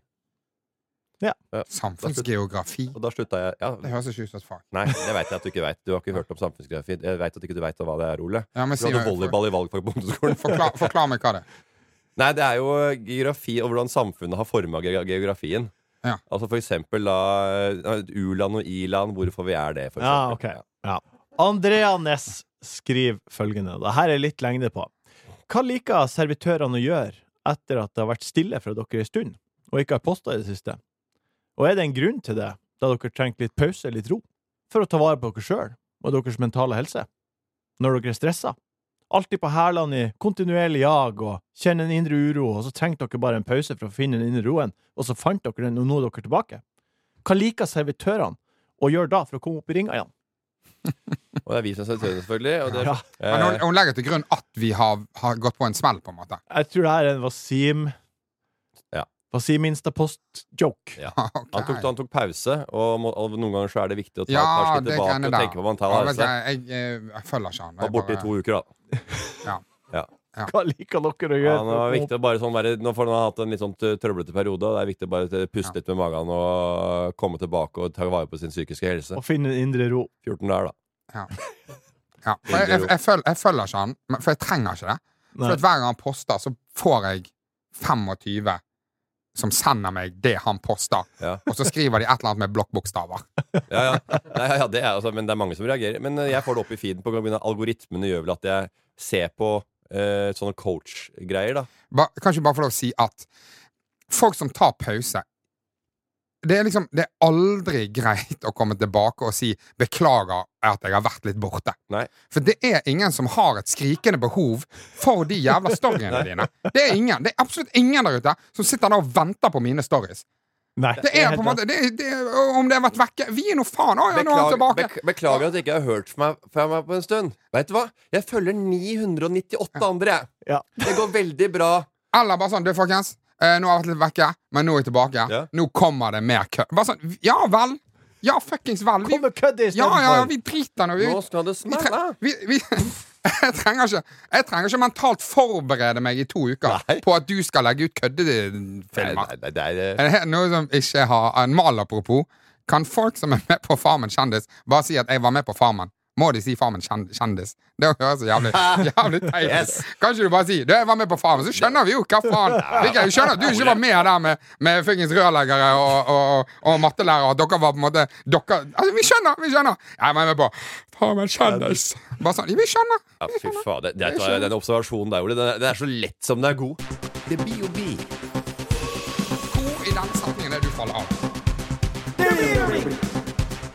[SPEAKER 4] Samfunnsgeografi.
[SPEAKER 5] Og da slutta jeg
[SPEAKER 4] Det
[SPEAKER 5] ja,
[SPEAKER 4] høres ikke ut som et fag.
[SPEAKER 5] Nei, det veit jeg at du ikke veit. Du har ikke hørt om samfunnsgeografi. Jeg veit at ikke du veit hva det er, Ole.
[SPEAKER 4] Ja, men
[SPEAKER 5] Du
[SPEAKER 4] si
[SPEAKER 5] hadde
[SPEAKER 4] meg-
[SPEAKER 5] volleyball i valgfag på ungdomsskolen.
[SPEAKER 4] Forklar, forklar meg hva det er.
[SPEAKER 5] Nei, det er jo eh, geografi og hvordan samfunnet har forma geografien.
[SPEAKER 4] Ja.
[SPEAKER 5] Altså for eksempel da eh, U-land og I-land, hvorfor vi er det, for
[SPEAKER 2] Ja, ok.
[SPEAKER 5] eksempel.
[SPEAKER 2] Ja. Andrea Næss skriver følgende, og det her er litt lengde på. Hva liker servitørene å gjøre etter at det har vært stille fra dere en stund, og ikke har posta i det siste? Og er det en grunn til det, da dere trengte litt pause, litt ro, for å ta vare på dere sjøl og deres mentale helse? Når dere er stressa? Alltid på hælene i kontinuerlig jag og kjenner en indre uro, og så trengte dere bare en pause for å finne den indre roen, og så fant dere den, og nå er dere tilbake? Hva liker servitørene å gjøre da for å komme opp i ringa igjen?
[SPEAKER 5] Og det er vi som er sentrene, selvfølgelig. Og det,
[SPEAKER 2] Ja.
[SPEAKER 5] eh,
[SPEAKER 4] Men hun, hun legger til grunn at vi har, har gått på en smell, på en måte.
[SPEAKER 2] Jeg tror det her er en Wasim
[SPEAKER 5] Ja.
[SPEAKER 2] Wasim Instapost-joke.
[SPEAKER 5] eh, ja.
[SPEAKER 4] Ok.
[SPEAKER 5] han, tok, han tok pause, og, må, og noen ganger så er det viktig å ta
[SPEAKER 4] Ja,
[SPEAKER 5] et par skritt
[SPEAKER 4] det
[SPEAKER 5] tilbake
[SPEAKER 4] kan jeg
[SPEAKER 5] og
[SPEAKER 4] da.
[SPEAKER 5] tenke på hva man tar
[SPEAKER 4] Ja,
[SPEAKER 5] av
[SPEAKER 4] vet du,
[SPEAKER 5] seg.
[SPEAKER 4] jeg, jeg, jeg følger ikke han.
[SPEAKER 5] Var borte i to uker, da.
[SPEAKER 4] Ja.
[SPEAKER 5] Ja.
[SPEAKER 2] Hva liker dere å
[SPEAKER 5] Ja,
[SPEAKER 2] gjøre?
[SPEAKER 5] nå er det viktig å bare sånn være Nå får han ha hatt en litt sånn t- trøblete periode, og det er viktig å bare t- puste litt med magen og komme tilbake og ta vare på sin psykiske helse.
[SPEAKER 2] Å finne en indre ro.
[SPEAKER 5] 14 dager, da.
[SPEAKER 4] Ja. Ja. For jeg, jeg, jeg, følger, jeg følger ikke han, men- for jeg trenger ikke det. For
[SPEAKER 2] Nei.
[SPEAKER 4] at hver gang han poster, så får jeg 25 som sender meg det han poster,
[SPEAKER 5] Ja.
[SPEAKER 4] og så skriver de et eller annet med blokkbokstaver.
[SPEAKER 5] Ja, ja. Nei, ja, ja det er, altså, men det er mange som reagerer. Men eh, jeg får det opp i feeden på grunn av algoritmene gjør vel at jeg ser på eh, sånne coach-greier, da.
[SPEAKER 4] Ba, kan ikke bare få lov å si at folk som tar pause det er liksom, det er aldri greit å komme tilbake og si 'beklager at jeg har vært litt borte'.
[SPEAKER 5] Nei.
[SPEAKER 4] For det er ingen som har et skrikende behov for de jævla storyene dine. Det er ingen, det er absolutt ingen der ute som sitter der og venter på mine stories.
[SPEAKER 2] Nei,
[SPEAKER 4] Det er på
[SPEAKER 2] helt
[SPEAKER 4] en måte, det, det, Om det har vært vekke Vi er nå faen! Å, ja, nå er han
[SPEAKER 5] Beklag-
[SPEAKER 4] tilbake!
[SPEAKER 5] bek- beklager at jeg ikke har hørt fra meg, fra meg på en stund. Vet du hva? Jeg følger 998 andre, jeg.
[SPEAKER 2] Ja.
[SPEAKER 5] Det går veldig bra.
[SPEAKER 4] Eller bare sånn, du folkens, eh, nå har jeg vært litt vekke, men nå er jeg tilbake.
[SPEAKER 5] Ja.
[SPEAKER 4] Nå kommer det mer kø. Bare sånn, ja vel! Ja, fuckings vel! Vi,
[SPEAKER 2] Kom med kødd i
[SPEAKER 4] ja,
[SPEAKER 2] stedet
[SPEAKER 4] ja, ja,
[SPEAKER 2] for.
[SPEAKER 4] vi driter nå. Vi,
[SPEAKER 5] Nå skal det
[SPEAKER 4] vi,
[SPEAKER 5] smelle.
[SPEAKER 4] tre- vi, vi, jeg, trenger ikke, jeg trenger ikke mentalt forberede meg i to uker
[SPEAKER 5] Nei.
[SPEAKER 4] på at du skal legge ut
[SPEAKER 5] Nei,
[SPEAKER 4] køddefilmer.
[SPEAKER 5] nei, nei, det er eh,
[SPEAKER 4] Er det her noe som ikke har en mal, apropos? Kan folk som er med på Farmen kjendis, bare si at 'jeg var med på Farmen'? Må de si 'Farmen kjen- kjendis'? Det høres så jævlig, jævlig teit ut.
[SPEAKER 5] Yes.
[SPEAKER 4] Kan ikke du bare si 'du, jeg var med på Farmen', så skjønner vi jo hva faen Vi kan jo skjønne at du ikke var med der med, med fuckings rørleggere og, og, og mattelærere, at dere var på en måte dere, altså, Vi skjønner! vi skjønner Jeg var med på Farmen kjendis. Bare sånn, vi skjønner.
[SPEAKER 5] ja, Fy faen. Det, det, er- den observasjonen der, Ole, den er, den er så lett som den er god. Det blir jo bi.
[SPEAKER 4] Hvor i den setningen er det du faller av?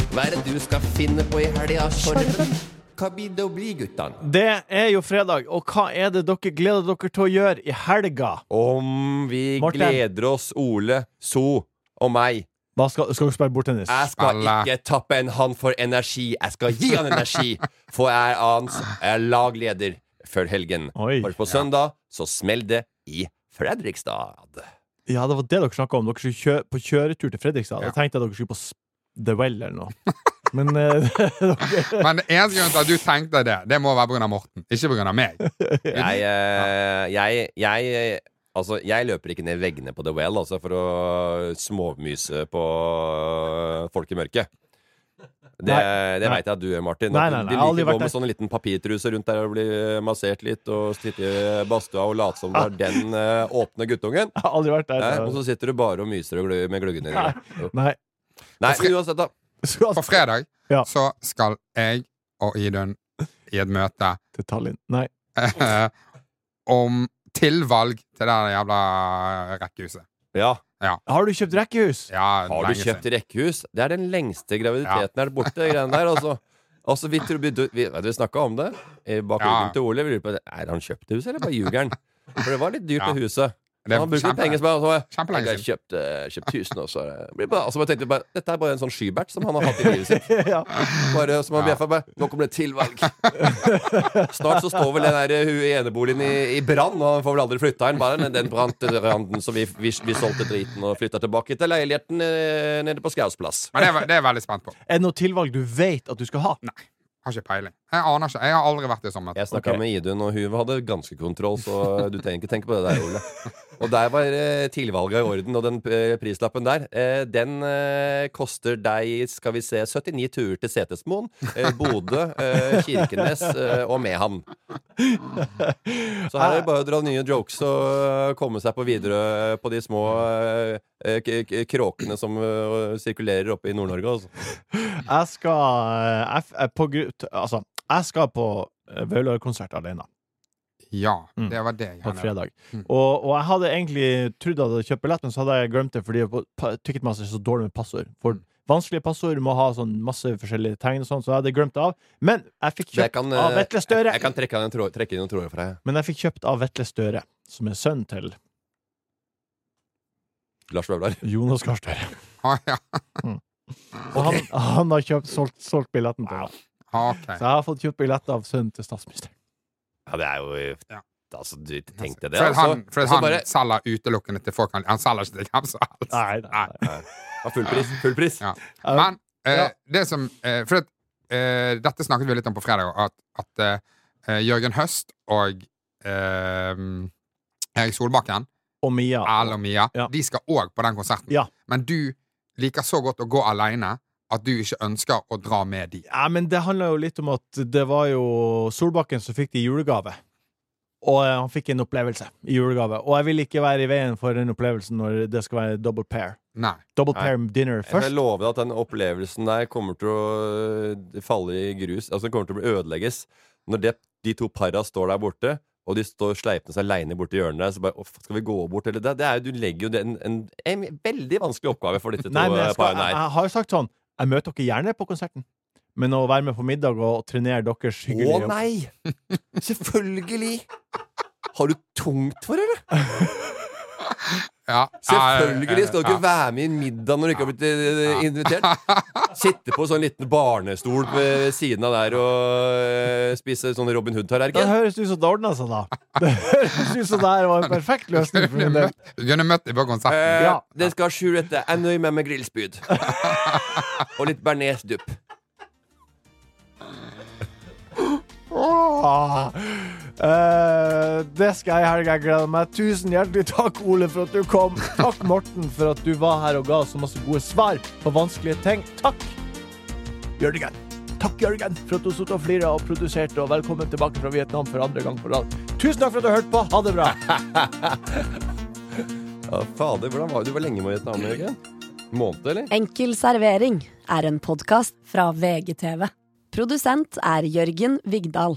[SPEAKER 5] Hva er det du skal finne på i helga, Sorven? Hva blir det å bli, guttan?
[SPEAKER 2] Det er jo fredag, og hva er det dere gleder dere til å gjøre i helga?
[SPEAKER 5] Om vi
[SPEAKER 2] Morten.
[SPEAKER 5] gleder oss, Ole, So og meg.
[SPEAKER 2] Hva skal, skal dere spille bordtennis?
[SPEAKER 5] Jeg skal
[SPEAKER 4] Spille.
[SPEAKER 5] ikke tappe en han for energi. Jeg skal gi han energi, for jeg er hans jeg er lagleder før helgen.
[SPEAKER 2] Oi.
[SPEAKER 5] For på søndag så smell det i Fredrikstad.
[SPEAKER 2] Ja, det var det dere snakka om. Dere skulle kjø på kjøretur til Fredrikstad. Jeg tenkte at dere skulle på s- The Well eller noe. Men eh, dere
[SPEAKER 4] Men det eneste grunnen til at du tenkte det, det må være pga. Morten, ikke pga. meg.
[SPEAKER 5] Jeg, eh, jeg, jeg eh, Altså, jeg løper ikke ned veggene på The Well altså, for å småmyse på eh, folk i mørket. Det,
[SPEAKER 2] Nei,
[SPEAKER 5] det
[SPEAKER 2] nei.
[SPEAKER 5] veit jeg at du gjør, Martin.
[SPEAKER 2] Nei,
[SPEAKER 5] At
[SPEAKER 2] nei, nei,
[SPEAKER 5] de
[SPEAKER 2] jeg har aldri
[SPEAKER 5] liker å
[SPEAKER 2] vært
[SPEAKER 5] gå med
[SPEAKER 2] der.
[SPEAKER 5] sånn liten papirtruse rundt der og bli massert litt, og sitte i badstua og late som det
[SPEAKER 2] Ah.
[SPEAKER 5] er den eh, åpne guttungen.
[SPEAKER 2] Jeg har aldri vært der.
[SPEAKER 5] Eh, og så sitter du bare og myser og glø med gløggen i øynene.
[SPEAKER 2] Nei.
[SPEAKER 5] Nei, uansett, da.
[SPEAKER 2] Så,
[SPEAKER 4] På fredag
[SPEAKER 2] Ja.
[SPEAKER 4] så skal jeg og Idun i et møte
[SPEAKER 2] til Tallinn. Nei.
[SPEAKER 4] eh, om tilvalg til det der jævla rekkehuset.
[SPEAKER 5] Ja.
[SPEAKER 2] Har du kjøpt rekkehus?
[SPEAKER 4] Ja,
[SPEAKER 5] Har du
[SPEAKER 4] lenge
[SPEAKER 5] kjøpt
[SPEAKER 4] siden.
[SPEAKER 5] rekkehus? Det er den lengste graviditeten her borte. de greiene der, altså. Altså, vi, tror- vi, vi, vet du, vi snakka om det eh, bak
[SPEAKER 4] Ja.
[SPEAKER 5] ryggen til Ole. Vi lurer på, Er han kjøpt det huset, eller bare ljuger han? For det var litt dyrt,
[SPEAKER 4] Ja.
[SPEAKER 5] det huset.
[SPEAKER 4] Det er
[SPEAKER 5] han brukte
[SPEAKER 4] kjempe-
[SPEAKER 5] litt penger som bare altså,
[SPEAKER 4] kjempelenge
[SPEAKER 5] Jeg har kjøpt, eh, kjøpt hus nå, så det blir bra. Altså, jeg tenkte bare, Dette er bare en sånn skybert som han har hatt i livet sitt.
[SPEAKER 2] Ja.
[SPEAKER 5] Bare som han bjeffa med. Nå kommer det et tilvalg. Snart så står vel den der hu- eneboligen i, i brann, og han får vel aldri flytta den. Bare men den brant til randen, så vi, vi, vi solgte driten og flytta tilbake til leiligheten eh, nede på Skaus plass.
[SPEAKER 4] Men det er, det er jeg veldig spent på.
[SPEAKER 2] Er det noe tilvalg du vet at du skal ha? Nei.
[SPEAKER 4] Har ikke peiling. Jeg aner ikke. Jeg har aldri vært i sånn møte.
[SPEAKER 5] Jeg snakka med Idun, og hun hadde ganske kontroll, så du trenger ikke tenke på det der, Ole. Og der var eh, tidligvalget i orden, og den eh, prislappen der, eh, den eh, koster deg, skal vi se, 79 turer til Setesmoen, eh, Bodø, eh, Kirkenes eh, og Mehamn. Så
[SPEAKER 2] Ah.
[SPEAKER 5] her er det bare å dra nye jokes og eh, komme seg på Widerøe på de små eh, k k kråkene som eh, sirkulerer oppe i Nord-Norge, altså.
[SPEAKER 2] Jeg skal eh, jeg, f- eh, på, gru- t- Altså, jeg skal på eh, Vaular-konsert alene
[SPEAKER 4] Ja,
[SPEAKER 2] Mm.
[SPEAKER 4] det var det. jeg
[SPEAKER 2] på
[SPEAKER 4] gjerne-
[SPEAKER 2] fredag.
[SPEAKER 4] Mm.
[SPEAKER 2] Og, og jeg hadde egentlig trodd at jeg hadde kjøpt billett, men så hadde jeg glemt det fordi på- pa- Ticketmaster er så dårlig med passord.
[SPEAKER 5] Mm.
[SPEAKER 2] For vanskelige passord må ha sånn masse forskjellige tegn og sånn, så jeg hadde glemt det av. Men jeg fikk
[SPEAKER 5] Jeg
[SPEAKER 2] kjøpt
[SPEAKER 5] kan,
[SPEAKER 2] av
[SPEAKER 5] eh,
[SPEAKER 2] Vetle
[SPEAKER 5] jeg,
[SPEAKER 2] Støre.
[SPEAKER 5] jeg kan trekke, inn en tråd- trekke inn noen tråder for deg.
[SPEAKER 2] Men jeg fikk kjøpt av Vetle Støre, som er sønnen til
[SPEAKER 5] Lars Vaular.
[SPEAKER 2] Jonas Gahr Støre.
[SPEAKER 4] Ah, ja.
[SPEAKER 2] Og han, han har kjøpt, solgt, solgt billetten til meg.
[SPEAKER 4] Ah, ok.
[SPEAKER 2] Så jeg har fått kjøpt billett av sønnen til statsministeren.
[SPEAKER 5] Ja, det er jo
[SPEAKER 4] Ja.
[SPEAKER 5] Altså, du tenkte det,
[SPEAKER 4] Fred, han,
[SPEAKER 5] altså.
[SPEAKER 4] Fred,
[SPEAKER 5] Altså,
[SPEAKER 4] han
[SPEAKER 5] bare,
[SPEAKER 4] selger utelukkende til folk. Han, han selger ikke til hvem som helst.
[SPEAKER 2] Nei, nei, nei.
[SPEAKER 5] ja, full pris. Full pris.
[SPEAKER 4] Ja.
[SPEAKER 2] Ja.
[SPEAKER 4] Men eh,
[SPEAKER 2] Ja.
[SPEAKER 4] det som eh, For at, eh, dette snakket vi litt om på fredag, at, at eh, eh, Jørgen Høst og eh, Erik Solbakken,
[SPEAKER 2] Og Mia.
[SPEAKER 4] Erlend og Mia,
[SPEAKER 2] Ja.
[SPEAKER 4] de skal òg på den konserten.
[SPEAKER 2] Ja.
[SPEAKER 4] Men du liker så godt å gå aleine at du ikke ønsker å dra med de.
[SPEAKER 2] Ja, men det handla jo litt om at det var jo Solbakken som fikk det i julegave. Og eh, han fikk en opplevelse i julegave. Og jeg vil ikke være i veien for den opplevelsen når det skal være double pair.
[SPEAKER 4] Nei.
[SPEAKER 2] Double
[SPEAKER 5] Nei.
[SPEAKER 2] pair dinner
[SPEAKER 5] Jeg vil
[SPEAKER 2] først.
[SPEAKER 5] love deg at den opplevelsen der kommer til å øh, falle i grus. Altså, den kommer til å bli ødelegges når det, de to para står der borte. Og de står sleipende seg aleine borti hjørnet der. Så bare, «Åh, skal vi gå bort, eller det? det er, jo- du legger jo det en, en, en veldig vanskelig oppgave for disse to
[SPEAKER 2] Nei, men jeg,
[SPEAKER 5] eh,
[SPEAKER 2] skal,
[SPEAKER 5] parene
[SPEAKER 2] jeg,
[SPEAKER 5] her.
[SPEAKER 2] jeg har jo sagt sånn Jeg møter dere gjerne på konserten, men å være med på middag og trenere deres
[SPEAKER 5] Å
[SPEAKER 2] hyggelige
[SPEAKER 5] nei! Selvfølgelig! Har du tungt for det, eller?
[SPEAKER 4] Ja.
[SPEAKER 5] Selvfølgelig skal du ikke
[SPEAKER 4] Ja.
[SPEAKER 5] være med i en middag når du ikke har blitt eh, invitert. Sitte på sånn liten barnestol ved siden av der og eh, spise sånn Robin
[SPEAKER 2] Det
[SPEAKER 5] Hood-tallerken.
[SPEAKER 2] høres ut som det ordna seg, da. Det høres ut som det her var en perfekt løsning. For min del.
[SPEAKER 4] Du kunne møtt dem på konserten.
[SPEAKER 5] Eh,
[SPEAKER 2] Ja.
[SPEAKER 5] Det skal ha sju retter. Jeg er nøye med meg grillspyd. Og litt bearnésdupp.
[SPEAKER 2] Åh. Eh, det skal jeg i helga. Jeg gleder meg. Tusen hjertelig takk, Ole, for at du kom. Takk, Morten, for at du var her og ga oss så masse gode svar på vanskelige ting. Takk, Jørgen. Takk, Jørgen, for at du satt og flira og produserte. Og velkommen tilbake fra Vietnam for andre gang på rad. Tusen takk for at du hørte på. Ha det bra.
[SPEAKER 5] Ja, fader, hvordan var du? var lenge med i Vietnam, Jørgen? Måned, eller?
[SPEAKER 1] Enkel servering er en podkast fra VGTV. Produsent er Jørgen Vigdal.